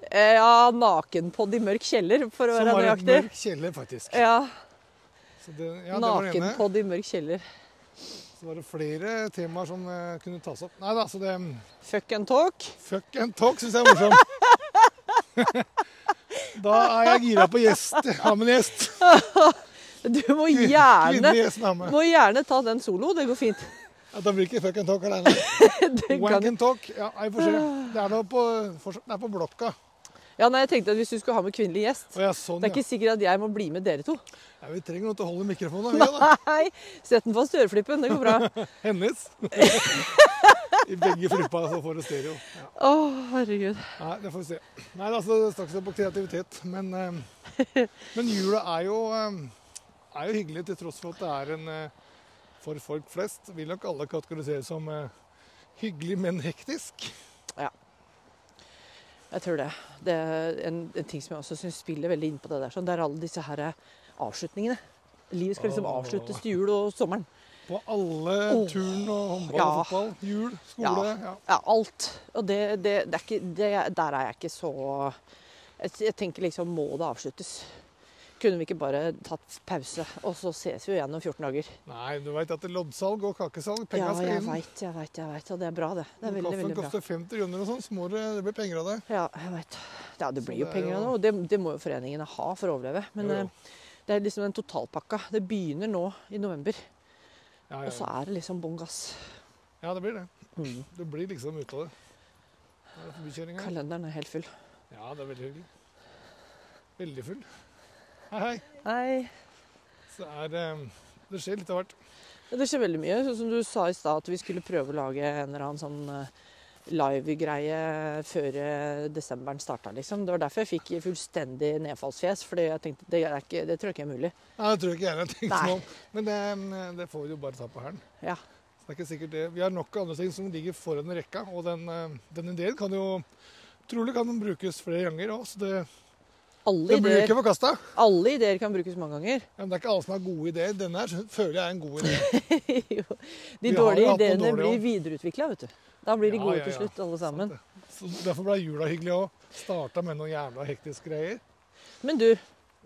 [SPEAKER 3] Eh, Ja, nakenpodd i mørk kjeller, for å
[SPEAKER 2] Som
[SPEAKER 3] være
[SPEAKER 2] var et
[SPEAKER 3] nøyaktig.
[SPEAKER 2] mørk kjeller, faktisk.
[SPEAKER 3] Ja,
[SPEAKER 2] Så det, ja, det var det ene.
[SPEAKER 3] nakenpodd i mørk kjeller.
[SPEAKER 2] Så var det flere temaer som eh, kunne tas opp. Nei da, så det mm,
[SPEAKER 3] Fuck and talk.
[SPEAKER 2] Fuck and talk syns jeg er morsomt. da er jeg gira på gjest. Ha med en gjest.
[SPEAKER 3] Du må gjerne,
[SPEAKER 2] Kvinnelig gjest. Ha med.
[SPEAKER 3] må gjerne ta den solo. Det går fint.
[SPEAKER 2] Ja, Da blir det ikke fuck and talk aleine.
[SPEAKER 3] Det
[SPEAKER 2] Wank
[SPEAKER 3] kan.
[SPEAKER 2] and talk. Ja, jeg får se. Det er nå på, fortsatt- det er på blokka.
[SPEAKER 3] Ja, nei, jeg tenkte at Hvis du skulle ha med kvinnelig gjest
[SPEAKER 2] Å ja, sånn,
[SPEAKER 3] Det er
[SPEAKER 2] ja.
[SPEAKER 3] ikke sikkert at jeg må bli med dere to.
[SPEAKER 2] ja. Vi trenger noen til å holde mikrofonen. vi, da.
[SPEAKER 3] Nei, Sett den fast i øreflippen. Det går bra.
[SPEAKER 2] Hennes. I begge flippa så får du stereo. Ja.
[SPEAKER 3] Å, herregud.
[SPEAKER 2] Nei, det får vi se. Nei, altså, det snakkes om kreativitet. Men, eh, men jula er jo, eh, er jo hyggelig til tross for at det er en eh, For folk flest vil nok alle kategoriseres som eh, hyggelig, men hektisk.
[SPEAKER 3] Jeg tror det. Det er en, en ting som jeg også syns spiller veldig inn på det der. Sånn, det er alle disse her eh, avslutningene. Livet skal liksom
[SPEAKER 2] Åh.
[SPEAKER 3] avsluttes til jul og sommeren.
[SPEAKER 2] På alle
[SPEAKER 3] Åh.
[SPEAKER 2] turn og håndball
[SPEAKER 3] Ja.
[SPEAKER 2] og fotball. Jul, skole. Ja.
[SPEAKER 3] Ja, alt. Og det, det, det er ikke, det, der er jeg ikke så jeg, jeg tenker liksom Må det avsluttes? Kunne vi ikke bare tatt pause, og så ses vi jo igjen om 14 dager?
[SPEAKER 2] Nei, du veit at det er loddsalg og kakesalg,
[SPEAKER 3] Ja,
[SPEAKER 2] penga skal
[SPEAKER 3] jeg
[SPEAKER 2] inn.
[SPEAKER 3] veit, jeg veit, jeg veit. Og det er bra, det. Det er
[SPEAKER 2] Om
[SPEAKER 3] veldig,
[SPEAKER 2] Kaffen
[SPEAKER 3] veldig bra.
[SPEAKER 2] koster 50 kroner og sånn, så må det, det blir penger av det.
[SPEAKER 3] Ja, jeg vet. Ja, det
[SPEAKER 2] Så
[SPEAKER 3] blir jo
[SPEAKER 2] det er
[SPEAKER 3] penger av
[SPEAKER 2] jo-
[SPEAKER 3] det, og det, det må jo foreningene ha for å overleve. Men
[SPEAKER 2] Jo, jo.
[SPEAKER 3] eh, det er liksom den totalpakka. Det begynner nå i november,
[SPEAKER 2] Ja,
[SPEAKER 3] og så
[SPEAKER 2] ja.
[SPEAKER 3] er det liksom bånn gass.
[SPEAKER 2] ja det blir det.
[SPEAKER 3] Mm.
[SPEAKER 2] Du blir liksom ute av det. Nå er det forbikjøring her.
[SPEAKER 3] Kalenderen er helt full.
[SPEAKER 2] Ja, det er veldig hyggelig. Veldig full. Hei, hei.
[SPEAKER 3] Nei,
[SPEAKER 2] Så er det Det skjer litt av hvert.
[SPEAKER 3] Ja, Det skjer veldig mye. Sånn som du sa i stad, at vi skulle prøve å lage en eller annen sånn eh, live-greie før eh, desemberen starta, liksom. Det var derfor jeg fikk fullstendig nedfallsfjes, fordi jeg tenkte det, er ikke, det tror jeg ikke er mulig.
[SPEAKER 2] Nei, det tror jeg ikke jeg har tenkt
[SPEAKER 3] Nei.
[SPEAKER 2] meg om. Men det, det får vi jo bare ta på hælen.
[SPEAKER 3] Ja.
[SPEAKER 2] Så det er ikke sikkert det. Vi har nok av andre ting som ligger foran i rekka, og den, eh, den ideen kan jo Trolig kan den brukes flere ganger òg, så det,
[SPEAKER 3] Alle
[SPEAKER 2] det blir
[SPEAKER 3] ideer,
[SPEAKER 2] ikke forkasta.
[SPEAKER 3] alle ideer kan brukes mange ganger.
[SPEAKER 2] Ja, men det er ikke alle som har gode ideer. Denne her føler jeg er en god idé.
[SPEAKER 3] Jo,
[SPEAKER 2] Vi har
[SPEAKER 3] de
[SPEAKER 2] jo
[SPEAKER 3] dårlige
[SPEAKER 2] hatt noen
[SPEAKER 3] ideene
[SPEAKER 2] dårlige
[SPEAKER 3] blir videreutvikla, vet du. Da blir de
[SPEAKER 2] Ja,
[SPEAKER 3] gode
[SPEAKER 2] ja, ja.
[SPEAKER 3] til slutt, alle sammen.
[SPEAKER 2] Så derfor ble jula hyggelig òg. Starta med noen jævla hektiske greier.
[SPEAKER 3] Men du,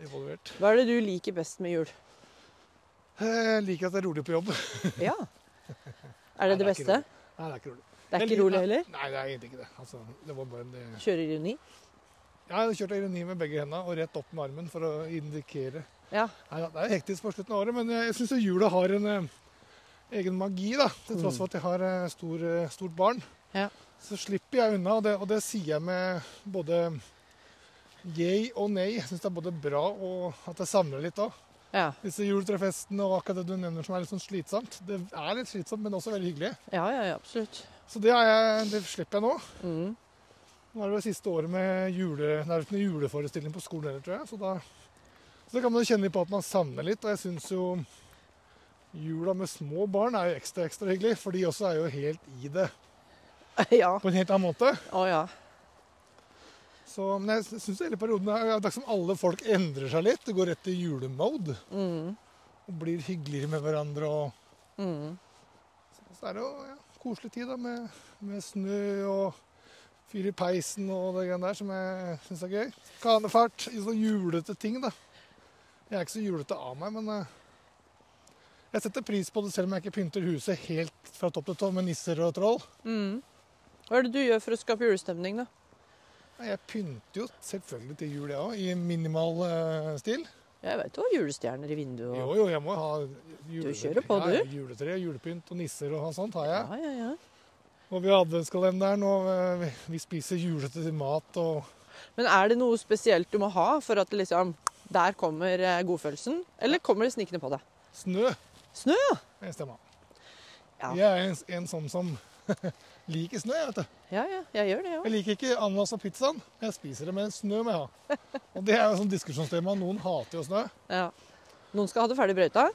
[SPEAKER 2] Involvert.
[SPEAKER 3] hva er det du liker best med jul?
[SPEAKER 2] Eh, Jeg liker at det er rolig på jobb. Nei,
[SPEAKER 3] Ja. Er
[SPEAKER 2] det er
[SPEAKER 3] det det
[SPEAKER 2] ikke
[SPEAKER 3] beste?
[SPEAKER 2] det er ikke rolig.
[SPEAKER 3] Det
[SPEAKER 2] Jeg
[SPEAKER 3] er ikke
[SPEAKER 2] liker-
[SPEAKER 3] rolig heller?
[SPEAKER 2] Nei, det er egentlig ikke det. Altså, det var bare en det-
[SPEAKER 3] Kjører ironi?
[SPEAKER 2] Jeg kjørte ironi med begge hendene og rett opp med armen for å indikere.
[SPEAKER 3] Ja.
[SPEAKER 2] Nei, da, det er hektisk på slutten av året, men eh, jeg syns jula har en eh, egen magi, da. Til tross for at jeg har eh, stor, eh, stort barn.
[SPEAKER 3] Ja.
[SPEAKER 2] Så slipper jeg unna, og det, og det sier jeg med både yay og nei. Jeg syns det er både bra og at jeg samler litt òg.
[SPEAKER 3] Ja.
[SPEAKER 2] Disse juletrefestene og akkurat det du nevner som er litt sånn slitsomt. Det er litt slitsomt, men også veldig hyggelig.
[SPEAKER 3] Ja, ja, ja absolutt.
[SPEAKER 2] Så det, er jeg, det slipper jeg nå.
[SPEAKER 3] Mm.
[SPEAKER 2] Nå er det jo siste året med jule, nærmest en juleforestilling på skolen heller, tror jeg. Så da, så da kan man jo kjenne litt på at man savner litt. Og jeg syns jo jula med små barn er jo ekstra ekstra hyggelig, for de også er jo helt i det
[SPEAKER 3] Ja.
[SPEAKER 2] på en helt annen måte.
[SPEAKER 3] Å ja.
[SPEAKER 2] Så, men jeg syns hele perioden er det er ikke som alle folk endrer seg litt. Det går rett til julemode.
[SPEAKER 3] Mm.
[SPEAKER 2] Og blir hyggeligere med hverandre og
[SPEAKER 3] Mm.
[SPEAKER 2] Så er det jo ja, koselig tid da, med, med snø og fyr i peisen og det greiene der som jeg syns er gøy. Kanefart. i Sånne julete ting, da. Jeg er ikke så julete av meg, men eh, jeg setter pris på det selv om jeg ikke pynter huset helt fra topp til tå med nisser og troll.
[SPEAKER 3] Mm. Hva er det du gjør for å skape julestemning, da?
[SPEAKER 2] Nei, Jeg pynter jo selvfølgelig til jul, jeg òg, i minimal eh, stil.
[SPEAKER 3] Jeg vet jo julestjerner i vinduet
[SPEAKER 2] Jo,
[SPEAKER 3] og
[SPEAKER 2] jo, jeg må ha juletre.
[SPEAKER 3] kjører på,
[SPEAKER 2] Ja, juletre, julepynt og nisser og sånt har jeg.
[SPEAKER 3] Ja, ja, ja.
[SPEAKER 2] Og vi har adventskalenderen, og eh, vi- vi spiser julete mat og
[SPEAKER 3] Men er det noe spesielt du må ha for at det liksom Der kommer eh, godfølelsen? Eller kommer det snikende på deg?
[SPEAKER 2] snø.
[SPEAKER 3] Snø, ja.
[SPEAKER 2] Jeg stemmer.
[SPEAKER 3] Ja.
[SPEAKER 2] Jeg er en, en sånn som liker snø. jeg vet du.
[SPEAKER 3] Ja, ja. Jeg gjør det, ja.
[SPEAKER 2] Jeg liker ikke ananas og pizzaen. Jeg spiser det, men snø må jeg ha. Og det er jo sånn diskusjonstema. Noen hater jo snø.
[SPEAKER 3] ja. Noen skal ha det ferdig brøyta?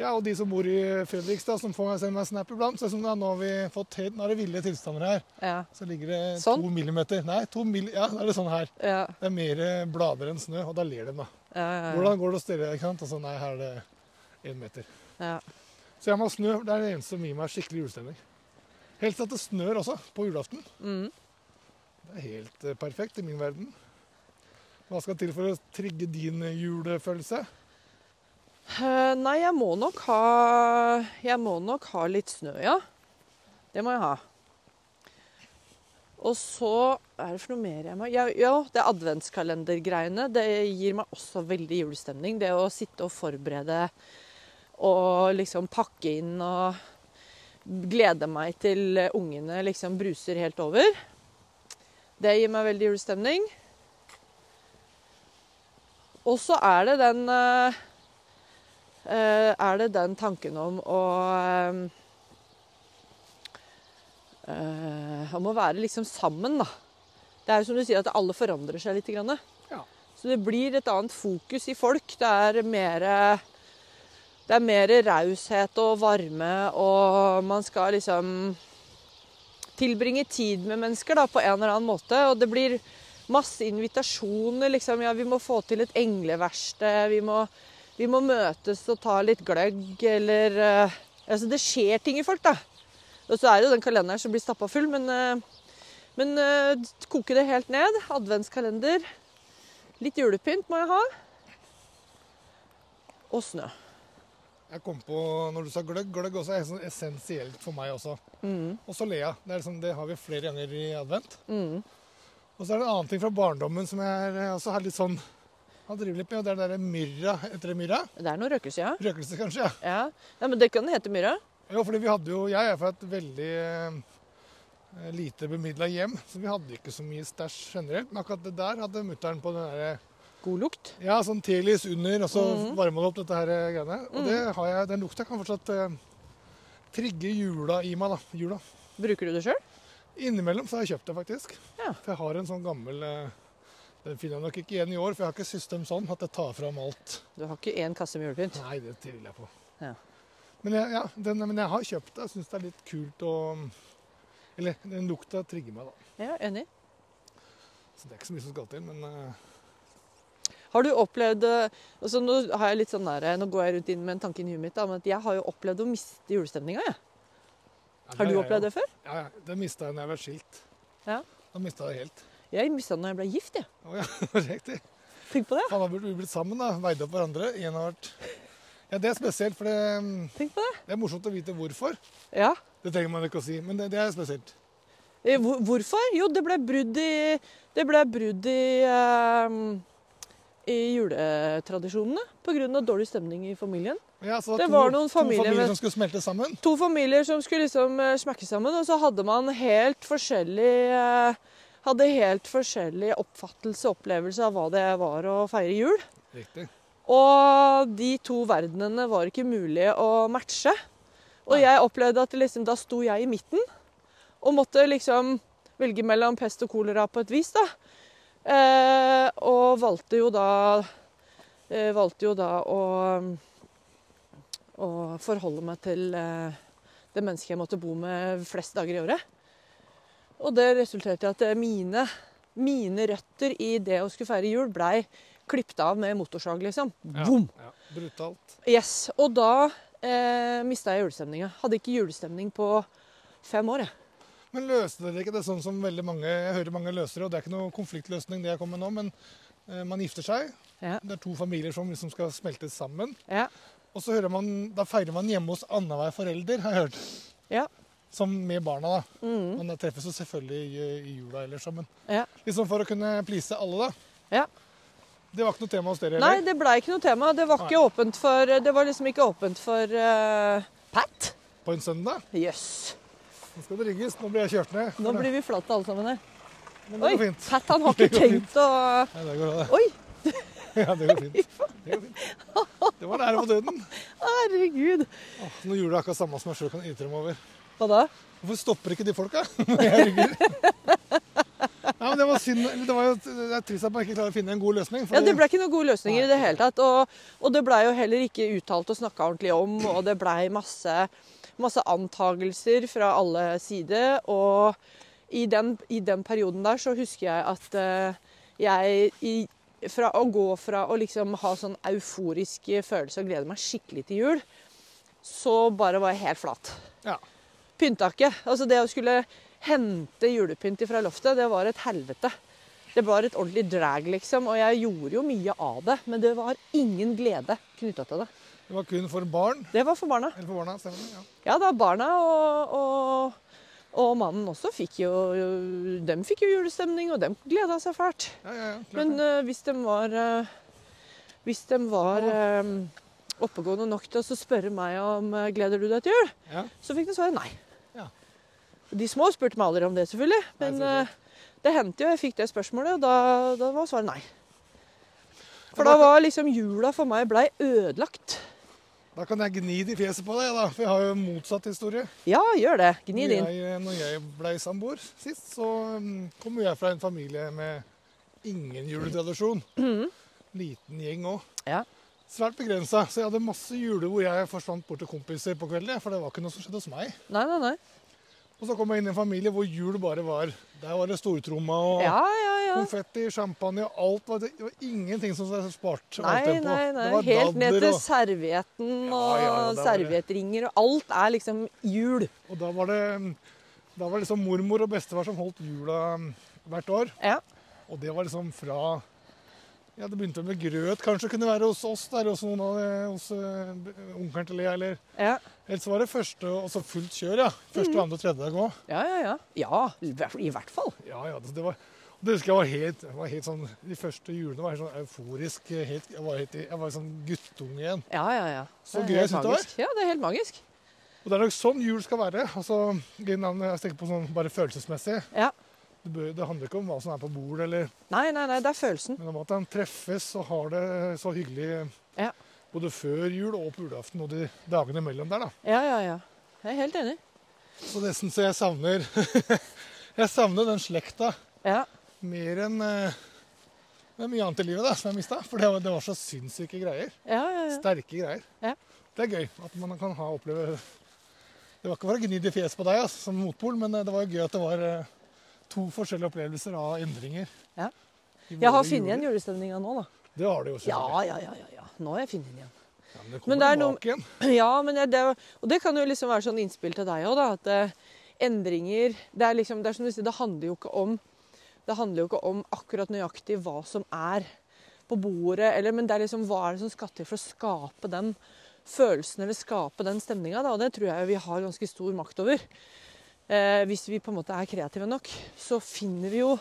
[SPEAKER 2] Ja, Og de som bor i Fredrikstad, som får meg sende meg snap iblant, så er det sånn, ja, nå har vi fått helt, nå er det ville tilstander her.
[SPEAKER 3] Ja.
[SPEAKER 2] Så ligger det
[SPEAKER 3] Sånn?
[SPEAKER 2] to millimeter. Nei, to mil, ja, da er det sånn her.
[SPEAKER 3] Ja.
[SPEAKER 2] Det er mer blader enn snø, og da ler de, da.
[SPEAKER 3] Ja, ja, ja.
[SPEAKER 2] Hvordan går det å stille deg, ikke sant? Og så nei, her er det én meter.
[SPEAKER 3] ja.
[SPEAKER 2] Så jeg må ha snø. Det er det eneste som gir meg skikkelig julestemning. Helst at det snør også, på julaften.
[SPEAKER 3] Mm.
[SPEAKER 2] Det er helt eh, perfekt i min verden. Hva skal til for å trigge din eh, julefølelse?
[SPEAKER 3] Eh, nei, jeg må nok ha Jeg må nok ha litt snø, ja. Det må jeg ha. Og så er det for noe mer jeg må Ja, ja det adventskalendergreiene. Det gir meg også veldig julestemning. Det å sitte og forberede og liksom pakke inn og glede meg til ungene liksom bruser helt over. Det gir meg veldig julestemning. Og så er det den eh, eh, er det den tanken om å eh, eh, Om å være liksom sammen, da. Det er jo som du sier at alle forandrer seg litt. Grann.
[SPEAKER 2] Ja.
[SPEAKER 3] Så det blir et annet fokus i folk. Det er mer det er mer raushet og varme, og man skal liksom tilbringe tid med mennesker da, på en eller annen måte. Og det blir masse invitasjoner. liksom, Ja, vi må få til et engleverksted. Vi må vi må møtes og ta litt gløgg, eller eh, Altså, det skjer ting i folk, da. Og så er det jo den kalenderen som blir stappa full, men, eh, men eh, koke det helt ned. Adventskalender. Litt julepynt må jeg ha. Og snø.
[SPEAKER 2] Jeg kom på, når du sa gløgg, gløgg også er sånn essensielt for meg også.
[SPEAKER 3] Mm,
[SPEAKER 2] Og så Lea. Det, er liksom, det har vi flere ganger i advent.
[SPEAKER 3] mm.
[SPEAKER 2] Og så er det en annen ting fra barndommen som jeg eh, også har litt sånn har drevet litt med, og det er det derre myrra etter myrra.
[SPEAKER 3] Det er noe røkelse, ja.
[SPEAKER 2] Røkelse, kanskje. ja.
[SPEAKER 3] ja. Nei, men det kan hete myra.
[SPEAKER 2] Jo, fordi vi hadde jo Jeg er fra et veldig eh, lite bemidla hjem, så vi hadde ikke så mye stæsj generelt. Men akkurat det der hadde mutter'n på den derre
[SPEAKER 3] God lukt.
[SPEAKER 2] Ja, sånn telis under, og så
[SPEAKER 3] Mhm.
[SPEAKER 2] varmer det opp dette her eh, greiene. Og det har jeg, den lukta kan fortsatt eh, trigge jula i meg, da. Jula.
[SPEAKER 3] Bruker du det sjøl?
[SPEAKER 2] Innimellom så har jeg kjøpt det, faktisk.
[SPEAKER 3] Ja.
[SPEAKER 2] For jeg har en sånn gammel eh, Den finner jeg nok ikke igjen i år, for jeg har ikke system sånn at jeg tar fram alt.
[SPEAKER 3] Du har ikke én kasse med julepynt.
[SPEAKER 2] Nei, det tviler jeg på.
[SPEAKER 3] Ja.
[SPEAKER 2] Men, jeg, ja, den, men jeg har kjøpt det. Jeg syns det er litt kult å Eller den lukta trigger meg, da.
[SPEAKER 3] Ja, enig.
[SPEAKER 2] Så det er ikke så mye som skal til, men eh,
[SPEAKER 3] Har du opplevd eh, altså Nå har jeg litt sånn der, nå går jeg rundt inn med en tanke inn i huet mitt, da, men at jeg har jo opplevd å miste julestemninga. jeg.
[SPEAKER 2] ja,
[SPEAKER 3] Har
[SPEAKER 2] det er
[SPEAKER 3] du
[SPEAKER 2] jeg
[SPEAKER 3] opplevd
[SPEAKER 2] jo.
[SPEAKER 3] det før?
[SPEAKER 2] Ja, ja. Det mista jeg da jeg ble skilt.
[SPEAKER 3] Ja.
[SPEAKER 2] Da mista jeg det helt.
[SPEAKER 3] Jeg mista den da jeg ble gift. jeg.
[SPEAKER 2] Å ja, riktig.
[SPEAKER 3] Tenk på det.
[SPEAKER 2] Faen, da burde vi blitt sammen, da. Veid opp hverandre. En har vært Ja, det er spesielt, for det,
[SPEAKER 3] Tenk på det.
[SPEAKER 2] det er morsomt å vite hvorfor.
[SPEAKER 3] Ja.
[SPEAKER 2] Det trenger man ikke å si, men det, det er spesielt.
[SPEAKER 3] Eh, hvor- Hvorfor? Jo, det ble brudd i Det ble brudd i ehm, i juletradisjonene pga. dårlig stemning i familien.
[SPEAKER 2] Ja, så
[SPEAKER 3] Det
[SPEAKER 2] to-
[SPEAKER 3] var noen familier
[SPEAKER 2] To familier
[SPEAKER 3] med-
[SPEAKER 2] som skulle smelte sammen.
[SPEAKER 3] To familier som skulle liksom eh, smekke sammen, og så hadde man helt forskjellig eh, Hadde helt forskjellig oppfattelse og opplevelse av hva det var å feire jul.
[SPEAKER 2] Riktig.
[SPEAKER 3] Og de to verdenene var ikke mulig å matche. Og
[SPEAKER 2] Nei.
[SPEAKER 3] jeg opplevde at liksom, da sto jeg i midten og måtte liksom velge mellom pest og kolera på et vis, da. Eh, og valgte jo da eh, Valgte jo da å å forholde meg til eh, det mennesket jeg måtte bo med flest dager i året. Og det resulterte i at eh, mine, mine røtter i det å skulle feire jul blei klippet av med motorsag, liksom.
[SPEAKER 2] Ja,
[SPEAKER 3] Boom!
[SPEAKER 2] Ja, brutalt.
[SPEAKER 3] Yes, og da eh, mista jeg julestemninga. Hadde ikke julestemning på fem år, jeg.
[SPEAKER 2] Men løste dere ikke det sånn som veldig mange jeg hører mange løser det, og det er ikke noe konfliktløsning det jeg kommer med nå, men eh, man gifter seg.
[SPEAKER 3] Ja.
[SPEAKER 2] Det er to familier som liksom skal smeltes sammen.
[SPEAKER 3] Ja.
[SPEAKER 2] Og så hører man, da feirer man hjemme hos annenhver forelder, har jeg hørt.
[SPEAKER 3] Ja.
[SPEAKER 2] Som med barna, da.
[SPEAKER 3] Mm.
[SPEAKER 2] Man treffes jo selvfølgelig i- i jula ellers, men
[SPEAKER 3] Ja.
[SPEAKER 2] liksom for å kunne please alle, da.
[SPEAKER 3] Ja.
[SPEAKER 2] Det var ikke noe tema hos dere
[SPEAKER 3] Nei,
[SPEAKER 2] heller?
[SPEAKER 3] det blei ikke noe tema. Det var, ikke åpent for, det var liksom ikke åpent for eh, Pat?
[SPEAKER 2] På en søndag?
[SPEAKER 3] Jøss.
[SPEAKER 2] Nå skal det rigges. Nå blir jeg kjørt ned.
[SPEAKER 3] Nå blir vi flate alle sammen her.
[SPEAKER 2] Men det
[SPEAKER 3] Oi,
[SPEAKER 2] går fint.
[SPEAKER 3] Pat han har
[SPEAKER 2] Det
[SPEAKER 3] ikke
[SPEAKER 2] går fint.
[SPEAKER 3] tenkt å
[SPEAKER 2] Ja, det går bra, det.
[SPEAKER 3] Oi,
[SPEAKER 2] Ja, det går fint. Det, går fint. det var nære på døden.
[SPEAKER 3] herregud.
[SPEAKER 2] Åh, nå gjorde jeg akkurat samme som jeg sjøl kan irritere meg over.
[SPEAKER 3] Hva da?
[SPEAKER 2] Hvorfor stopper ikke de folka? Herregud. Nei, men det var synd. eller Det, var jo, det er trist at man ikke klarer å finne en god løsning.
[SPEAKER 3] Ja,
[SPEAKER 2] fordi-
[SPEAKER 3] Det ble ikke noen gode løsninger
[SPEAKER 2] Nei.
[SPEAKER 3] i det hele tatt. Og, og det blei jo heller ikke uttalt og snakka ordentlig om, og det blei masse, masse antagelser fra alle sider. Og i den, i den perioden der så husker jeg at eh, jeg i, fra å gå fra å liksom ha sånn euforisk følelse og glede meg skikkelig til jul, så bare var jeg helt flat.
[SPEAKER 2] Ja.
[SPEAKER 3] Pynta ikke. Altså det å skulle hente julepynt fra loftet, det var et helvete. Det var et ordentlig drag, liksom. Og jeg gjorde jo mye av det, men det var ingen glede knytta til det.
[SPEAKER 2] Det var kun for barn.
[SPEAKER 3] Det var for barna.
[SPEAKER 2] Eller for barna, stemmer det? Ja.
[SPEAKER 3] Ja da, barna og, og, og mannen også fikk jo Dem fikk jo julestemning, og dem gleda seg fælt.
[SPEAKER 2] Ja, ja, ja, klart
[SPEAKER 3] Men
[SPEAKER 2] det.
[SPEAKER 3] eh, hvis de var eh, Hvis de var eh, oppegående nok til å så spørre meg om eh, gleder du deg til jul,
[SPEAKER 2] ja.
[SPEAKER 3] så fikk de svare nei.
[SPEAKER 2] Ja.
[SPEAKER 3] De små spurte meg aldri om det, selvfølgelig.
[SPEAKER 2] Nei,
[SPEAKER 3] Men
[SPEAKER 2] selvfølgelig.
[SPEAKER 3] eh, det hendte jo jeg fikk det spørsmålet, og da, da var svaret nei. For
[SPEAKER 2] Ja,
[SPEAKER 3] da
[SPEAKER 2] da-
[SPEAKER 3] var liksom jula for meg blei ødelagt.
[SPEAKER 2] Da kan jeg gni det i fjeset på deg, da, for jeg har jo motsatt historie.
[SPEAKER 3] Ja, gjør det. Gni
[SPEAKER 2] Når
[SPEAKER 3] det inn.
[SPEAKER 2] jeg, eh, når jeg ble samboer sist, så mm, kom jo jeg fra en familie med ingen juletradisjon.
[SPEAKER 3] Mhm.
[SPEAKER 2] Liten gjeng òg.
[SPEAKER 3] Ja.
[SPEAKER 2] Svært begrensa. Så jeg hadde masse juler hvor jeg forsvant bort til kompiser på kvelden. For det var ikke noe som skjedde hos meg.
[SPEAKER 3] Nei, nei, nei.
[SPEAKER 2] Og så kom jeg inn i en familie hvor jul bare var Der var det stortromma og
[SPEAKER 3] Ja, ja, ja.
[SPEAKER 2] konfetti, champagne og alt. Var det, det var ingenting som var spart.
[SPEAKER 3] Nei,
[SPEAKER 2] alt det på.
[SPEAKER 3] nei,
[SPEAKER 2] Det
[SPEAKER 3] nei.
[SPEAKER 2] var
[SPEAKER 3] Helt ned
[SPEAKER 2] dadler
[SPEAKER 3] til
[SPEAKER 2] og-
[SPEAKER 3] servietten
[SPEAKER 2] Ja,
[SPEAKER 3] og
[SPEAKER 2] ja, ja, det var det.
[SPEAKER 3] serviettringer og alt er liksom jul.
[SPEAKER 2] Og da var det da var det liksom mormor og bestefar som holdt jula mm, hvert år.
[SPEAKER 3] Ja.
[SPEAKER 2] Og det var liksom fra Ja, det begynte med grøt, kanskje kunne være hos oss der, hos noen av eh, hos eh, b- onkelen til Lea, eller
[SPEAKER 3] Ja,
[SPEAKER 2] Ellers var det første og så fullt kjør, ja. Første,
[SPEAKER 3] Mm.
[SPEAKER 2] andre, tredje dag òg.
[SPEAKER 3] ja, ja. Ja, ja i hvert- i hvert fall.
[SPEAKER 2] Ja, ja, altså, det, det var og det husker jeg var helt, jeg var helt sånn, De første julene var helt sånn euforisk. Helt, jeg var helt i- jeg var sånn guttunge igjen.
[SPEAKER 3] Ja, ja, ja.
[SPEAKER 2] Så
[SPEAKER 3] Det er
[SPEAKER 2] gøy
[SPEAKER 3] helt
[SPEAKER 2] jeg synes det
[SPEAKER 3] magisk. Ja, det er helt magisk.
[SPEAKER 2] Og Det er nok sånn jul skal være. altså, i navnet, Jeg tenker på sånn bare følelsesmessig.
[SPEAKER 3] Ja.
[SPEAKER 2] Det, bør, det handler ikke om hva som er på bordet, eller,
[SPEAKER 3] Nei, nei, nei, det er følelsen.
[SPEAKER 2] men om at en treffes og har det så hyggelig
[SPEAKER 3] Ja.
[SPEAKER 2] både før jul og på julaften og de dagene imellom der. da.
[SPEAKER 3] Ja, ja, ja. Jeg er helt enig.
[SPEAKER 2] Så nesten så jeg savner Jeg savner den slekta
[SPEAKER 3] Ja,
[SPEAKER 2] mer enn eh, det er mye annet i livet da, som jeg mista. For det var, det var så sinnssyke greier.
[SPEAKER 3] ja, ja. ja.
[SPEAKER 2] Sterke greier.
[SPEAKER 3] Ja.
[SPEAKER 2] Det er gøy at man kan ha oppleve Det var ikke for å gni det i fjes på deg altså, som motpol, men eh, det var jo gøy at det var eh, to forskjellige opplevelser av endringer.
[SPEAKER 3] Ja.
[SPEAKER 2] I
[SPEAKER 3] Jeg har
[SPEAKER 2] våre
[SPEAKER 3] funnet igjen
[SPEAKER 2] juler.
[SPEAKER 3] julestemninga nå, da.
[SPEAKER 2] Det har du jo selvfølgelig.
[SPEAKER 3] Ja, ja, ja, ja, ja. Nå har jeg funnet den igjen.
[SPEAKER 2] Ja, men det
[SPEAKER 3] Men
[SPEAKER 2] kommer
[SPEAKER 3] det er noe-
[SPEAKER 2] tilbake igjen.
[SPEAKER 3] Ja, men det, det, og det kan jo liksom være sånn innspill til deg òg, da. At eh, endringer det er, liksom, det er som du sier, det handler jo ikke om Det handler jo ikke om akkurat nøyaktig hva som er på bordet, eller, men det er liksom hva er det som skal til for å skape den følelsen eller skape den stemninga. Og det tror jeg vi har ganske stor makt over. Eh, hvis vi på en måte er kreative nok, så finner vi jo,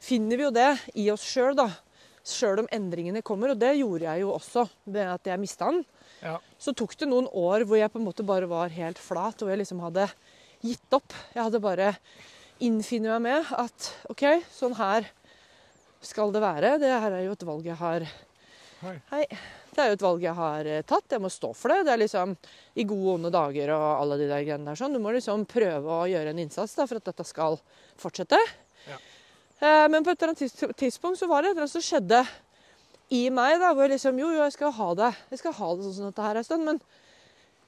[SPEAKER 3] finner vi jo det i oss sjøl, da. Sjøl om endringene kommer, og det gjorde jeg jo også ved at jeg mista den.
[SPEAKER 2] Ja.
[SPEAKER 3] Så tok det noen år hvor jeg på en måte bare var helt flat, og jeg liksom hadde gitt opp. Jeg hadde bare innfinnet meg med at OK, sånn her skal det være. Det her er jo et valg jeg har
[SPEAKER 2] Hei.
[SPEAKER 3] Det er jo et valg jeg har eh, tatt. Jeg må stå for det. Det er liksom i gode og onde dager og alle de der greiene der sånn. Du må liksom prøve å gjøre en innsats da, for at dette skal fortsette.
[SPEAKER 2] Ja.
[SPEAKER 3] Eh, Men på et eller annet tids- tidspunkt så var det et eller annet som skjedde i meg, da, hvor jeg liksom Jo, jo, jeg skal ha det. Jeg skal ha det sånn som dette her en stund, men,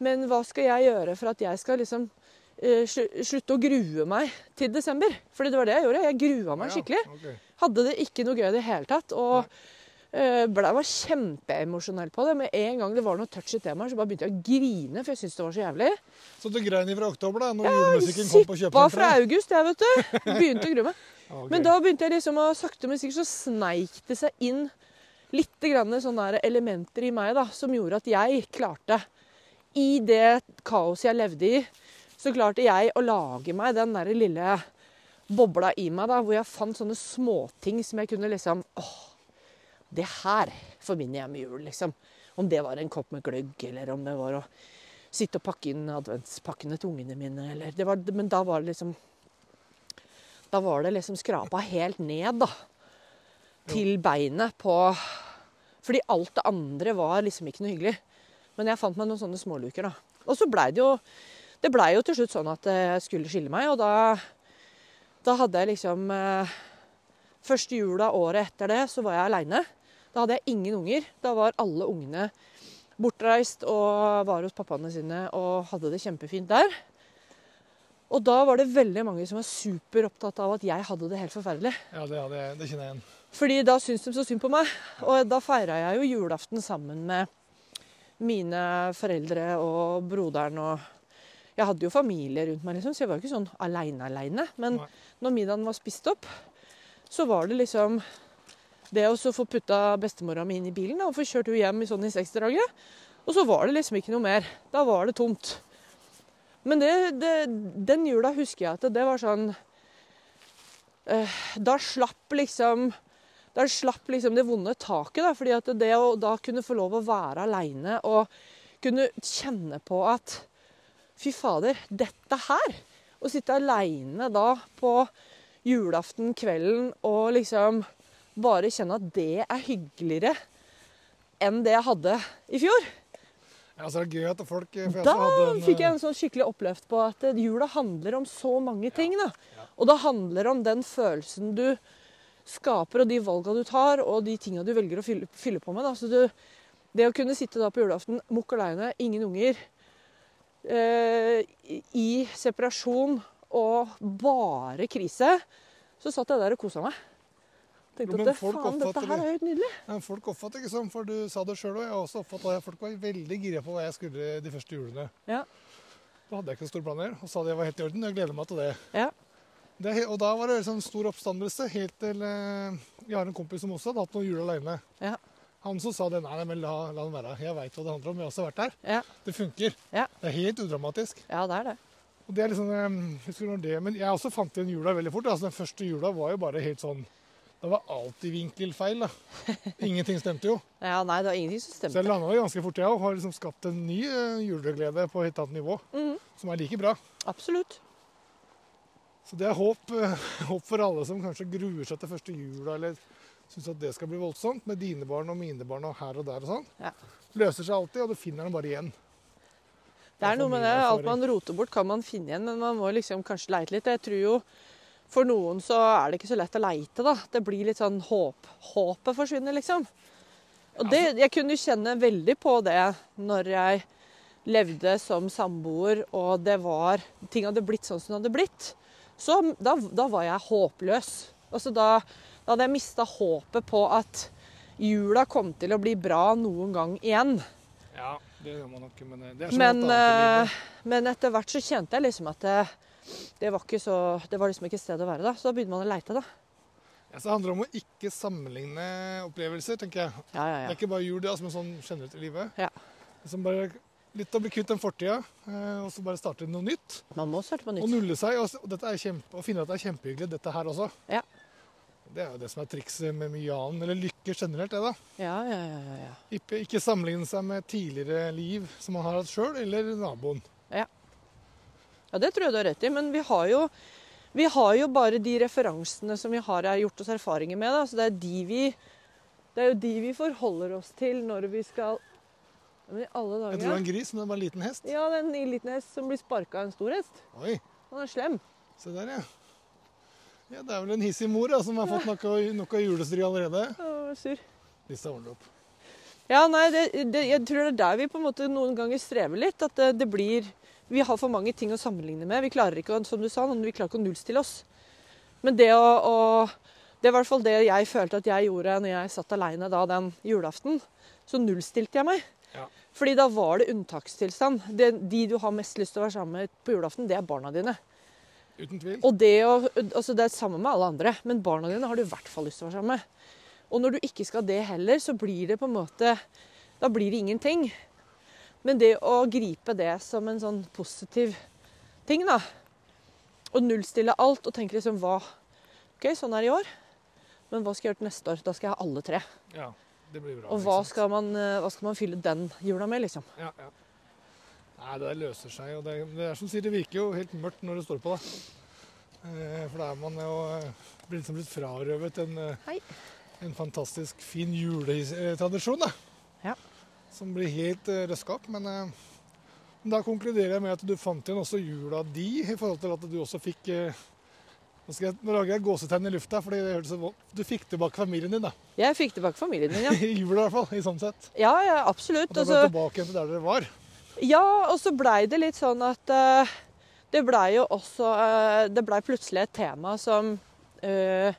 [SPEAKER 3] men hva skal jeg gjøre for at jeg skal liksom eh, slu- slutte å grue meg til desember? Fordi det var det jeg gjorde. Jeg grua meg skikkelig.
[SPEAKER 2] Ja, ok.
[SPEAKER 3] Hadde det ikke noe gøy i det hele tatt. Og eh, ble, var kjempeemosjonell på det. Med en gang det var noe touchy temaer, så bare begynte jeg å grine, for jeg syntes det var så jævlig.
[SPEAKER 2] Så du grein ifra oktober, da? Når julemusikken kom på
[SPEAKER 3] Sippa fra
[SPEAKER 2] kjøpesenteret?
[SPEAKER 3] august, jeg, vet du. Begynte å grue meg.
[SPEAKER 2] Ja, ok.
[SPEAKER 3] Men da begynte jeg liksom å sakte, men sikkert så sneik det seg inn litt grann sånne der elementer i meg da, som gjorde at jeg klarte, i det kaoset jeg levde i, så klarte jeg å lage meg den der lille bobla i meg da, hvor jeg fant sånne småting som jeg kunne liksom åh, det her forbinder jeg med jul, liksom. Om det var en kopp med gløgg, eller om det var å sitte og pakke inn adventspakkene til ungene mine, eller det var, Men da var det liksom da var det liksom skrapa helt ned, da. Til beinet på Fordi alt det andre var liksom ikke noe hyggelig. Men jeg fant meg noen sånne småluker, da. Og så blei det jo Det blei jo til slutt sånn at eh, jeg skulle skille meg, og da Da hadde jeg liksom eh, Første jula året etter det så var jeg aleine. Da hadde jeg ingen unger. Da var alle ungene bortreist og var hos pappaene sine og hadde det kjempefint der. Og da var det veldig mange som var superopptatt av at jeg hadde det helt forferdelig.
[SPEAKER 2] Ja, det, hadde jeg- det kjenner jeg igjen.
[SPEAKER 3] Fordi da syntes de så synd på meg. Og da feira jeg jo julaften sammen med mine foreldre og broderen og Jeg hadde jo familie rundt meg, liksom, så jeg var jo ikke sånn aleine-aleine. Men
[SPEAKER 2] Nei.
[SPEAKER 3] når middagen var spist opp, så var det liksom det å så få putta bestemora mi inn i bilen, da, og få kjørt henne hjem i sånn i seksdraget. Og så var det liksom ikke noe mer. Da var det tomt. Men det, det, den jula husker jeg at det var sånn eh, Da slapp liksom Da slapp liksom det vonde taket, da. fordi at det å da kunne få lov å være aleine og kunne kjenne på at Fy fader, dette her! Å sitte aleine da på julaften kvelden og liksom bare kjenne at det er hyggeligere enn det jeg hadde i fjor.
[SPEAKER 2] Ja, så er det gøy at folk eh, for jeg så
[SPEAKER 3] Da
[SPEAKER 2] hadde en, eh,
[SPEAKER 3] fikk jeg en sånn skikkelig opplevd på at eh, jula handler om så mange ting. da. Og det handler om den følelsen du skaper, og de valga du tar, og de tinga du velger å fylle, fylle på med. da. Så du, det å kunne sitte da på julaften mukk aleine, ingen unger, eh, i- i separasjon og bare krise, så satt jeg der og kosa meg.
[SPEAKER 2] Jo,
[SPEAKER 3] Tenkte
[SPEAKER 2] men
[SPEAKER 3] at det,
[SPEAKER 2] folk
[SPEAKER 3] faen, dette
[SPEAKER 2] oppfatter
[SPEAKER 3] her
[SPEAKER 2] det.
[SPEAKER 3] er jo helt nydelig.
[SPEAKER 2] Men folk oppfatter ikke sånn, for du sa det sjøl, og jeg har også oppfatta at folk var veldig gira på hva jeg skulle de første julene.
[SPEAKER 3] Ja.
[SPEAKER 2] Da hadde jeg ikke noen store planer, og sa det var helt i orden. og Jeg gleder meg til det.
[SPEAKER 3] Ja.
[SPEAKER 2] det er he- og da var det liksom stor oppstandelse, helt til eh, Jeg har en kompis som også hadde hatt noen jul aleine.
[SPEAKER 3] Ja.
[SPEAKER 2] Han som sa det. Nei, nei, men la, la den være. Jeg veit hva det handler om. Jeg har også vært der.
[SPEAKER 3] Ja,
[SPEAKER 2] Det funker.
[SPEAKER 3] Ja.
[SPEAKER 2] Det er helt udramatisk.
[SPEAKER 3] ja det er det.
[SPEAKER 2] Og det er liksom, eh, husker du når det, Men jeg også fant igjen jula veldig fort. altså Den første jula var jo bare helt sånn Det var alltid vinkelfeil. da. Ingenting stemte jo.
[SPEAKER 3] Ja, nei, det var ingenting som
[SPEAKER 2] Så
[SPEAKER 3] stemte.
[SPEAKER 2] jeg landa jo ganske fort, jeg òg. Har liksom skapt en ny eh, juleglede på et helt annet nivå.
[SPEAKER 3] Mhm.
[SPEAKER 2] Som er like bra.
[SPEAKER 3] Absolutt.
[SPEAKER 2] Så det er håp, eh, håp for alle som kanskje gruer seg til første jula, eller syns at det skal bli voldsomt, med dine barn og mine barn og her og der og sånn.
[SPEAKER 3] Ja.
[SPEAKER 2] Løser seg alltid, og du finner den bare igjen.
[SPEAKER 3] Det er noe med det.
[SPEAKER 2] Familieerfaring.
[SPEAKER 3] Alt man roter bort, kan man finne igjen, men man må liksom kanskje leite litt. Jeg tror jo for noen så er det ikke så lett å leite, da. Det blir litt sånn håp. Håpet forsvinner, liksom. Og det, jeg kunne jo kjenne veldig på det når jeg levde som samboer, og det var Ting hadde blitt sånn som det hadde blitt. Så da, da var jeg håpløs. Altså da, da hadde jeg mista håpet på at jula kom til å bli bra noen gang igjen.
[SPEAKER 2] Ja, det gjør man nok, men det
[SPEAKER 3] Men, eh, men etter hvert så kjente jeg liksom at det, det, var ikke så, det var liksom ikke et sted å være, da. Så da begynner man å leite, da.
[SPEAKER 2] Ja, så det handler om å ikke sammenligne opplevelser, tenker jeg.
[SPEAKER 3] Ja, ja,
[SPEAKER 2] Det er
[SPEAKER 3] ja.
[SPEAKER 2] ikke bare jul, det er som en sånn generelt i livet.
[SPEAKER 3] Ja.
[SPEAKER 2] Liksom bare litt å bli kvitt den fortida, eh, og så bare starte noe nytt.
[SPEAKER 3] Man må starte på
[SPEAKER 2] Og
[SPEAKER 3] nytt.
[SPEAKER 2] nulle seg, altså. og, s- og, dette er kjempe, og finne at det er kjempehyggelig, dette her også.
[SPEAKER 3] Ja.
[SPEAKER 2] Det er jo det som er trikset med mye annet, eller lykke generelt, det da.
[SPEAKER 3] Ja, ja, ja, ja, ja.
[SPEAKER 2] Ikke, ikke sammenligne seg med tidligere liv som man har hatt sjøl, eller naboen.
[SPEAKER 3] ja, det tror jeg du har rett i. Men vi har jo, vi har jo bare de referansene som vi har er gjort oss erfaringer med. Da. Så det er, de vi, det er jo de vi forholder oss til når vi skal Ja, Men i alle
[SPEAKER 2] Jeg tror det var
[SPEAKER 3] dager
[SPEAKER 2] en gris, men det var en liten hest.
[SPEAKER 3] Ja, det er en liten hest som blir sparka av en stor hest.
[SPEAKER 2] Oi,
[SPEAKER 3] Han er slem.
[SPEAKER 2] se der, ja. Ja, Det er vel en hissig mor da, som har fått nok av, nok av julestry allerede.
[SPEAKER 3] Å, sur.
[SPEAKER 2] Disse ordner opp.
[SPEAKER 3] Ja, nei, det, det, jeg tror det er der vi på en måte noen ganger strever litt. At det, det blir Vi har for mange ting å sammenligne med. Vi klarer ikke, å- som du sa, vi klarer ikke å nullstille oss. Men det å, å Det var i hvert fall det jeg følte at jeg gjorde når jeg satt aleine da den julaften. Så nullstilte jeg meg.
[SPEAKER 2] Ja.
[SPEAKER 3] Fordi da var det unntakstilstand. Det, de du har mest lyst til å være sammen med på julaften, det er barna dine.
[SPEAKER 2] Uten tvil.
[SPEAKER 3] Og det, å, altså det er sammen med alle andre, men barna dine har du i hvert fall lyst til å være sammen med. Og når du ikke skal det heller, så blir det på en måte Da blir det ingenting. Men det å gripe det som en sånn positiv ting, da. Og nullstille alt og tenke liksom hva OK, sånn er det i år. Men hva skal jeg gjøre til neste år? Da skal jeg ha alle tre.
[SPEAKER 2] Ja, det blir bra.
[SPEAKER 3] Og
[SPEAKER 2] ikke
[SPEAKER 3] hva
[SPEAKER 2] sant?
[SPEAKER 3] skal man, eh, hva skal man fylle den jula med, liksom?
[SPEAKER 2] Ja, ja. Nei, det der løser seg. Og det, det er som du sier, det virker jo helt mørkt når du står på, da. Eh, For da er man jo eh, blir liksom blitt frarøvet en, eh,
[SPEAKER 3] Hei.
[SPEAKER 2] en fantastisk fin juletradisjon, da.
[SPEAKER 3] Ja.
[SPEAKER 2] Som blir helt eh, røska opp. Men eh, da konkluderer jeg med at du fant igjen også jula di, i forhold til at du også fikk eh, nå, skal jeg, nå lager jeg gåsetegn i lufta, fordi det hørtes så vondt Du fikk tilbake familien din, da.
[SPEAKER 3] Jeg fikk tilbake familien min, ja.
[SPEAKER 2] I jula, i hvert fall. I sånn sett.
[SPEAKER 3] Ja, ja, absolutt.
[SPEAKER 2] At du ble
[SPEAKER 3] Altså-
[SPEAKER 2] tilbake igjen til der dere var.
[SPEAKER 3] Ja, og så blei det litt sånn at eh, det blei jo også eh, Det blei plutselig et tema som eh,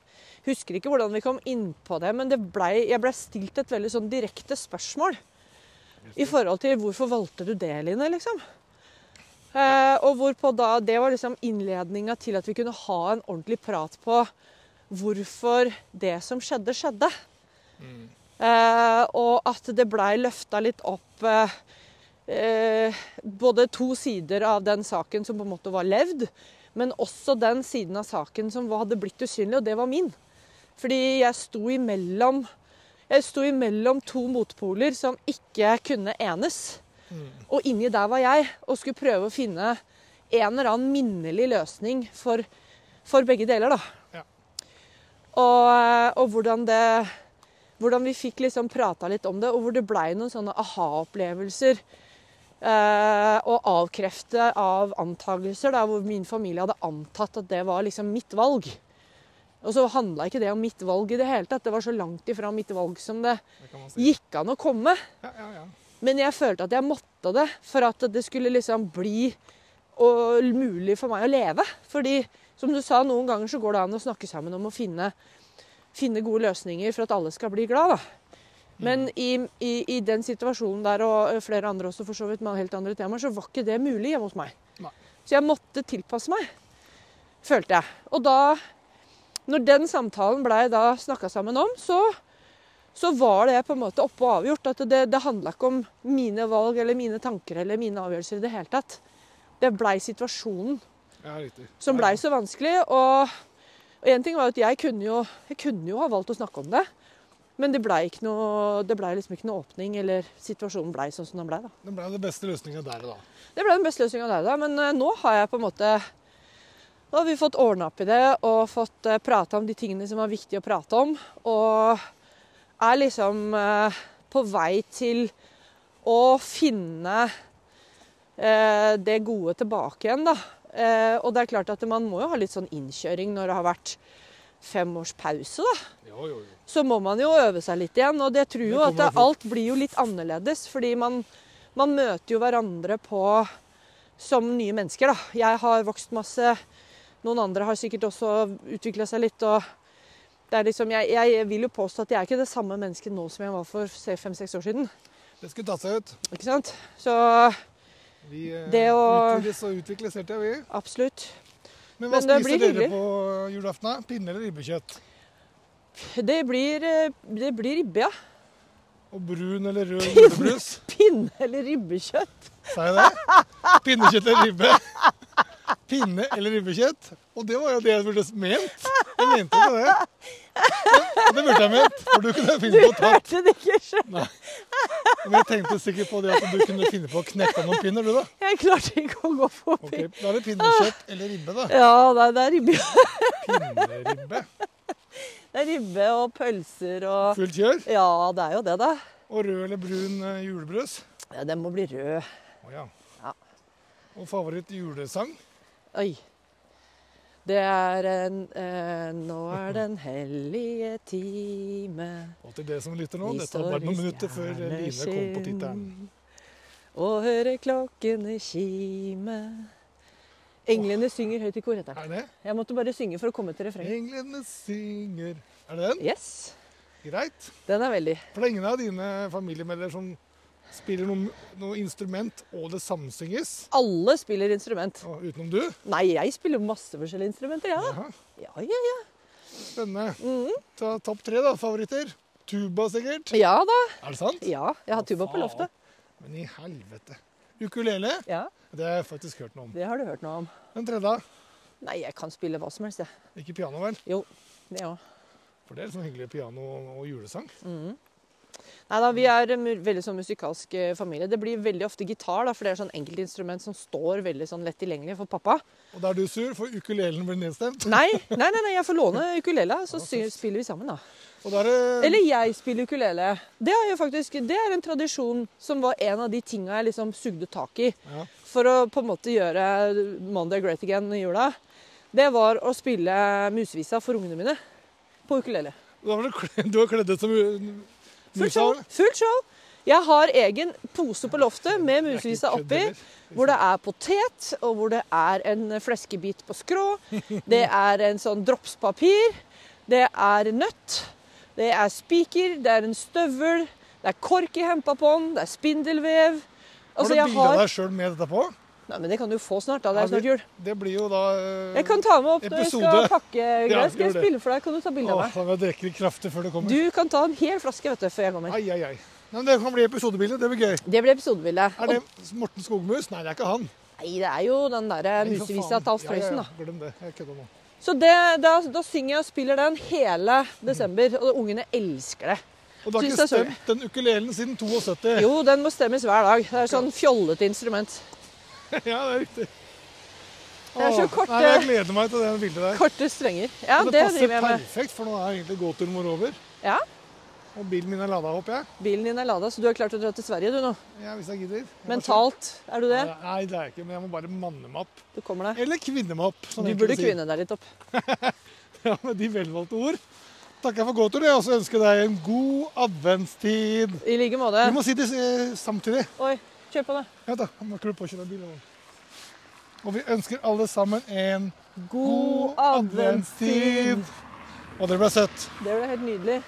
[SPEAKER 3] Husker ikke hvordan vi kom inn på det, men det blei- jeg blei stilt et veldig sånn direkte spørsmål. I forhold til hvorfor valgte du det, Line, liksom. Eh, og hvorpå da Det var liksom innledninga til at vi kunne ha en ordentlig prat på hvorfor det som skjedde, skjedde.
[SPEAKER 2] Mm.
[SPEAKER 3] Eh, og at det blei løfta litt opp eh, eh, både to sider av den saken som på en måte var levd, men også den siden av saken som var- hadde blitt usynlig, og det var min. Fordi jeg sto imellom jeg sto imellom to motpoler som ikke kunne enes.
[SPEAKER 2] Mm.
[SPEAKER 3] Og inni der var jeg og skulle prøve å finne en eller annen minnelig løsning for, for begge deler, da.
[SPEAKER 2] Ja.
[SPEAKER 3] Og, og hvordan det Hvordan vi fikk liksom prata litt om det, og hvor det blei noen sånne aha-opplevelser. Eh, og avkrefte av antagelser, da, hvor min familie hadde antatt at det var liksom mitt valg. Og så handla ikke det om mitt valg i det hele tatt. Det var så langt ifra mitt valg som det
[SPEAKER 2] Det kan man si.
[SPEAKER 3] gikk an å komme.
[SPEAKER 2] Ja, ja, ja.
[SPEAKER 3] Men jeg følte at jeg måtte det for at det skulle liksom bli og, mulig for meg å leve. Fordi, som du sa, noen ganger så går det an å snakke sammen om å finne, finne gode løsninger for at alle skal bli glad, da. Men
[SPEAKER 2] Mm.
[SPEAKER 3] i, i, i den situasjonen der, og eh, flere andre også for så vidt, med helt andre temaer, så var ikke det mulig hjemme hos meg.
[SPEAKER 2] Nei.
[SPEAKER 3] Så jeg måtte tilpasse meg, følte jeg. Og da, når den samtalen blei da snakka sammen om, så så var det på en måte oppe og avgjort. At det, det handla ikke om mine valg eller mine tanker eller mine avgjørelser i det hele tatt. Det blei situasjonen
[SPEAKER 2] ja riktig.
[SPEAKER 3] som blei så vanskelig. Og én ting var jo at jeg kunne jo, jeg kunne jo ha valgt å snakke om det. Men det blei ikke noe, det ble liksom ikke noe åpning, eller situasjonen blei sånn som den blei. da.
[SPEAKER 2] Det ble den beste løsninga der og da.
[SPEAKER 3] Det ble den beste løsninga der, da. Men eh, nå har jeg på en måte Nå har vi fått ordna opp i det og fått eh, prata om de tingene som er viktige å prate om. Og er liksom eh, på vei til å finne eh, det gode tilbake igjen, da. Eh, og det er klart at man må jo ha litt sånn innkjøring når det har vært fem års pause, da
[SPEAKER 2] Jo, jo, jo.
[SPEAKER 3] så må man jo øve seg litt igjen. Og jeg tror jo
[SPEAKER 2] Det
[SPEAKER 3] at
[SPEAKER 2] kommer
[SPEAKER 3] det,
[SPEAKER 2] fort.
[SPEAKER 3] alt blir jo litt annerledes, fordi man, man møter jo hverandre på som nye mennesker, da. Jeg har vokst masse, noen andre har sikkert også utvikla seg litt, og det er liksom jeg, jeg vil jo påstå at jeg er ikke det samme mennesket nå som jeg var for fem-seks år siden.
[SPEAKER 2] Det skulle tatt seg ut.
[SPEAKER 3] Ikke sant? Så
[SPEAKER 2] Vi eh,
[SPEAKER 3] Det å-
[SPEAKER 2] utvides og utvikles hele tida, vi.
[SPEAKER 3] absolutt.
[SPEAKER 2] Men hva
[SPEAKER 3] Men det
[SPEAKER 2] spiser
[SPEAKER 3] blir
[SPEAKER 2] dere
[SPEAKER 3] hyggelig.
[SPEAKER 2] på julaften? da? Pinne eller ribbekjøtt?
[SPEAKER 3] Det blir, eh, det blir ribbe, ja.
[SPEAKER 2] Og brun eller rød julebrus?
[SPEAKER 3] Pinne eller ribbekjøtt.
[SPEAKER 2] Sa jeg det? Pinnekjøtt eller ribbe? Pinne eller ribbekjøtt? Og det var jo det jeg burde ment. Jeg mente ikke det. Men- Og det burde jeg ment, for du kunne finne på å ta
[SPEAKER 3] Hørte det ikke? skjønner
[SPEAKER 2] Men jeg tenkte sikkert på det at du kunne finne på å knekke noen pinner, du da.
[SPEAKER 3] Jeg klarte ikke å gå forbi.
[SPEAKER 2] Ok, Da er det pinnekjøtt eller ribbe, da.
[SPEAKER 3] Ja, det er- det er ribbe.
[SPEAKER 2] Pinneribbe.
[SPEAKER 3] Det er ribbe og pølser og
[SPEAKER 2] Fullt kjør.
[SPEAKER 3] Ja, det er jo det, da.
[SPEAKER 2] Og rød eller brun eh, julebrus.
[SPEAKER 3] Ja, den må bli rød.
[SPEAKER 2] Å ja.
[SPEAKER 3] Ja.
[SPEAKER 2] Og favoritt julesang?
[SPEAKER 3] Oi. Det er en eh, Nå er den hellige time.
[SPEAKER 2] Og til dere som lytter nå,
[SPEAKER 3] Vi
[SPEAKER 2] dette har
[SPEAKER 3] står
[SPEAKER 2] vært noen
[SPEAKER 3] i
[SPEAKER 2] minutter før eh, Line kom på tittelen.
[SPEAKER 3] stjerneskinn Og hører klokkene kime. Englene synger høyt i kor, heter den.
[SPEAKER 2] Er det?
[SPEAKER 3] Jeg måtte bare synge for å komme til refrenget.
[SPEAKER 2] Englene synger Er det den?
[SPEAKER 3] Yes.
[SPEAKER 2] Greit.
[SPEAKER 3] Den er veldig
[SPEAKER 2] For det er ingen av dine familiemedlemmer som spiller noe, noe instrument, og det samsynges?
[SPEAKER 3] Alle spiller instrument.
[SPEAKER 2] Og utenom du?
[SPEAKER 3] Nei, jeg spiller masse forskjellige instrumenter, jeg,
[SPEAKER 2] Jaha,
[SPEAKER 3] da. Ja, ja, ja.
[SPEAKER 2] Spennende.
[SPEAKER 3] Mm.
[SPEAKER 2] Ta Topp tre, da. Favoritter? Tuba, sikkert.
[SPEAKER 3] ja da.
[SPEAKER 2] Er det sant?
[SPEAKER 3] Ja. Jeg har
[SPEAKER 2] Å,
[SPEAKER 3] tuba på
[SPEAKER 2] faen.
[SPEAKER 3] loftet.
[SPEAKER 2] Men i helvete. Ukulele?
[SPEAKER 3] Ja,
[SPEAKER 2] Det har jeg faktisk hørt noe om.
[SPEAKER 3] Det har du hørt noe om.
[SPEAKER 2] Den tredje?
[SPEAKER 3] Nei, jeg kan spille hva som helst, jeg.
[SPEAKER 2] Ikke piano, vel?
[SPEAKER 3] Jo, det òg.
[SPEAKER 2] For det er sånn hyggelig piano og julesang.
[SPEAKER 3] Mm. Nei da, vi er en mu- veldig sånn musikalsk eh, familie. Det blir veldig ofte gitar, da, for det er sånn enkeltinstrument som står veldig sånn lett tilgjengelig for pappa.
[SPEAKER 2] Og da er du sur, for ukulelen blir nedstemt.
[SPEAKER 3] Nei, nei, nei, nei jeg får låne ukulele, så
[SPEAKER 2] Ja,
[SPEAKER 3] sy- spiller vi sammen, da.
[SPEAKER 2] Og da er det
[SPEAKER 3] Eller jeg spiller ukulele. Det er jo faktisk det er en tradisjon som var en av de tinga jeg liksom sugde tak i
[SPEAKER 2] ja.
[SPEAKER 3] for å på en måte gjøre Monday great again i jula. Det var å spille musevisa for ungene mine på ukulele.
[SPEAKER 2] Da var det kle- Du har kledd ut som u-
[SPEAKER 3] Fullt
[SPEAKER 2] musa?
[SPEAKER 3] show.
[SPEAKER 2] eller?
[SPEAKER 3] Fullt show. Jeg har egen pose på loftet med
[SPEAKER 2] Jeg er ikke
[SPEAKER 3] musevisa
[SPEAKER 2] kledd
[SPEAKER 3] oppi,
[SPEAKER 2] heller.
[SPEAKER 3] hvor det er potet, og hvor det er en fleskebit på skrå. Det er en sånn dropspapir. Det er nøtt. Det er spiker. Det er en støvel. Det er kork i hempa på den. Det er spindelvev.
[SPEAKER 2] Har
[SPEAKER 3] Altså,
[SPEAKER 2] du
[SPEAKER 3] jeg
[SPEAKER 2] bilde av
[SPEAKER 3] har
[SPEAKER 2] deg sjøl med dette på?
[SPEAKER 3] Nei, men det kan du få snart. da, Det er
[SPEAKER 2] Ja, vi-
[SPEAKER 3] snart jul.
[SPEAKER 2] Det blir jo da eh,
[SPEAKER 3] Jeg kan ta med opp når jeg skal
[SPEAKER 2] episode.
[SPEAKER 3] pakke greier. Skal
[SPEAKER 2] gjør
[SPEAKER 3] jeg
[SPEAKER 2] det.
[SPEAKER 3] spille for deg? Kan du ta bilde av
[SPEAKER 2] Åh,
[SPEAKER 3] meg?
[SPEAKER 2] da må jeg drikke litt kraftig før det kommer.
[SPEAKER 3] Du kan ta en hel flaske vet du, før jeg kommer.
[SPEAKER 2] Ai, ai, ai. Nei, men det kan bli episodebilde. Det blir gøy.
[SPEAKER 3] Det blir episodebildet.
[SPEAKER 2] Er det Morten Skogmus? Nei, det er ikke han.
[SPEAKER 3] Og- Nei, det er jo den derre
[SPEAKER 2] Nei, for
[SPEAKER 3] musevisa
[SPEAKER 2] faen.
[SPEAKER 3] til Alf Prøysen,
[SPEAKER 2] ja, ja,
[SPEAKER 3] da.
[SPEAKER 2] ja. Glem det. Jeg kødder nå.
[SPEAKER 3] Så det, da, da synger jeg og spiller den hele desember, og ungene elsker det.
[SPEAKER 2] Og du har
[SPEAKER 3] Synes
[SPEAKER 2] ikke
[SPEAKER 3] jeg er
[SPEAKER 2] stemt den ukulelen siden 72.
[SPEAKER 3] Jo, den må stemmes hver dag. Det er sånn fjollete instrument.
[SPEAKER 2] ja, det er riktig.
[SPEAKER 3] Det er så
[SPEAKER 2] Åh,
[SPEAKER 3] korte-
[SPEAKER 2] Nei, jeg gleder meg til det bildet der.
[SPEAKER 3] Korte strenger. Ja,
[SPEAKER 2] Og
[SPEAKER 3] det,
[SPEAKER 2] det passer
[SPEAKER 3] driver jeg med.
[SPEAKER 2] perfekt, for nå er egentlig gåturen vår over.
[SPEAKER 3] Ja,
[SPEAKER 2] Og bilen min er lada opp, jeg.
[SPEAKER 3] Bilen din er lada, så du har klart å dra til Sverige du nå.
[SPEAKER 2] Ja, hvis jeg gidder. Jeg må
[SPEAKER 3] Mentalt er du
[SPEAKER 2] se-
[SPEAKER 3] det.
[SPEAKER 2] Nei, det er jeg ikke. Men jeg må bare manne meg opp.
[SPEAKER 3] Du kommer deg.
[SPEAKER 2] Eller kvinne meg opp. som
[SPEAKER 3] Du
[SPEAKER 2] enkelte
[SPEAKER 3] burde
[SPEAKER 2] sier.
[SPEAKER 3] kvinne deg litt opp.
[SPEAKER 2] Ja, med de velvalgte ord. Takker jeg for gåtur, jeg, og så ønsker jeg deg en god adventstid.
[SPEAKER 3] I like
[SPEAKER 2] Vi
[SPEAKER 3] måte.
[SPEAKER 2] må si det eh, samtidig.
[SPEAKER 3] Oi, kjør på, da.
[SPEAKER 2] Ja da, jeg må klippe på å kjøre bil. nå. Og vi ønsker alle sammen en
[SPEAKER 3] God adventstid.
[SPEAKER 2] Og dere ble søtt.
[SPEAKER 3] Det ble helt nydelig.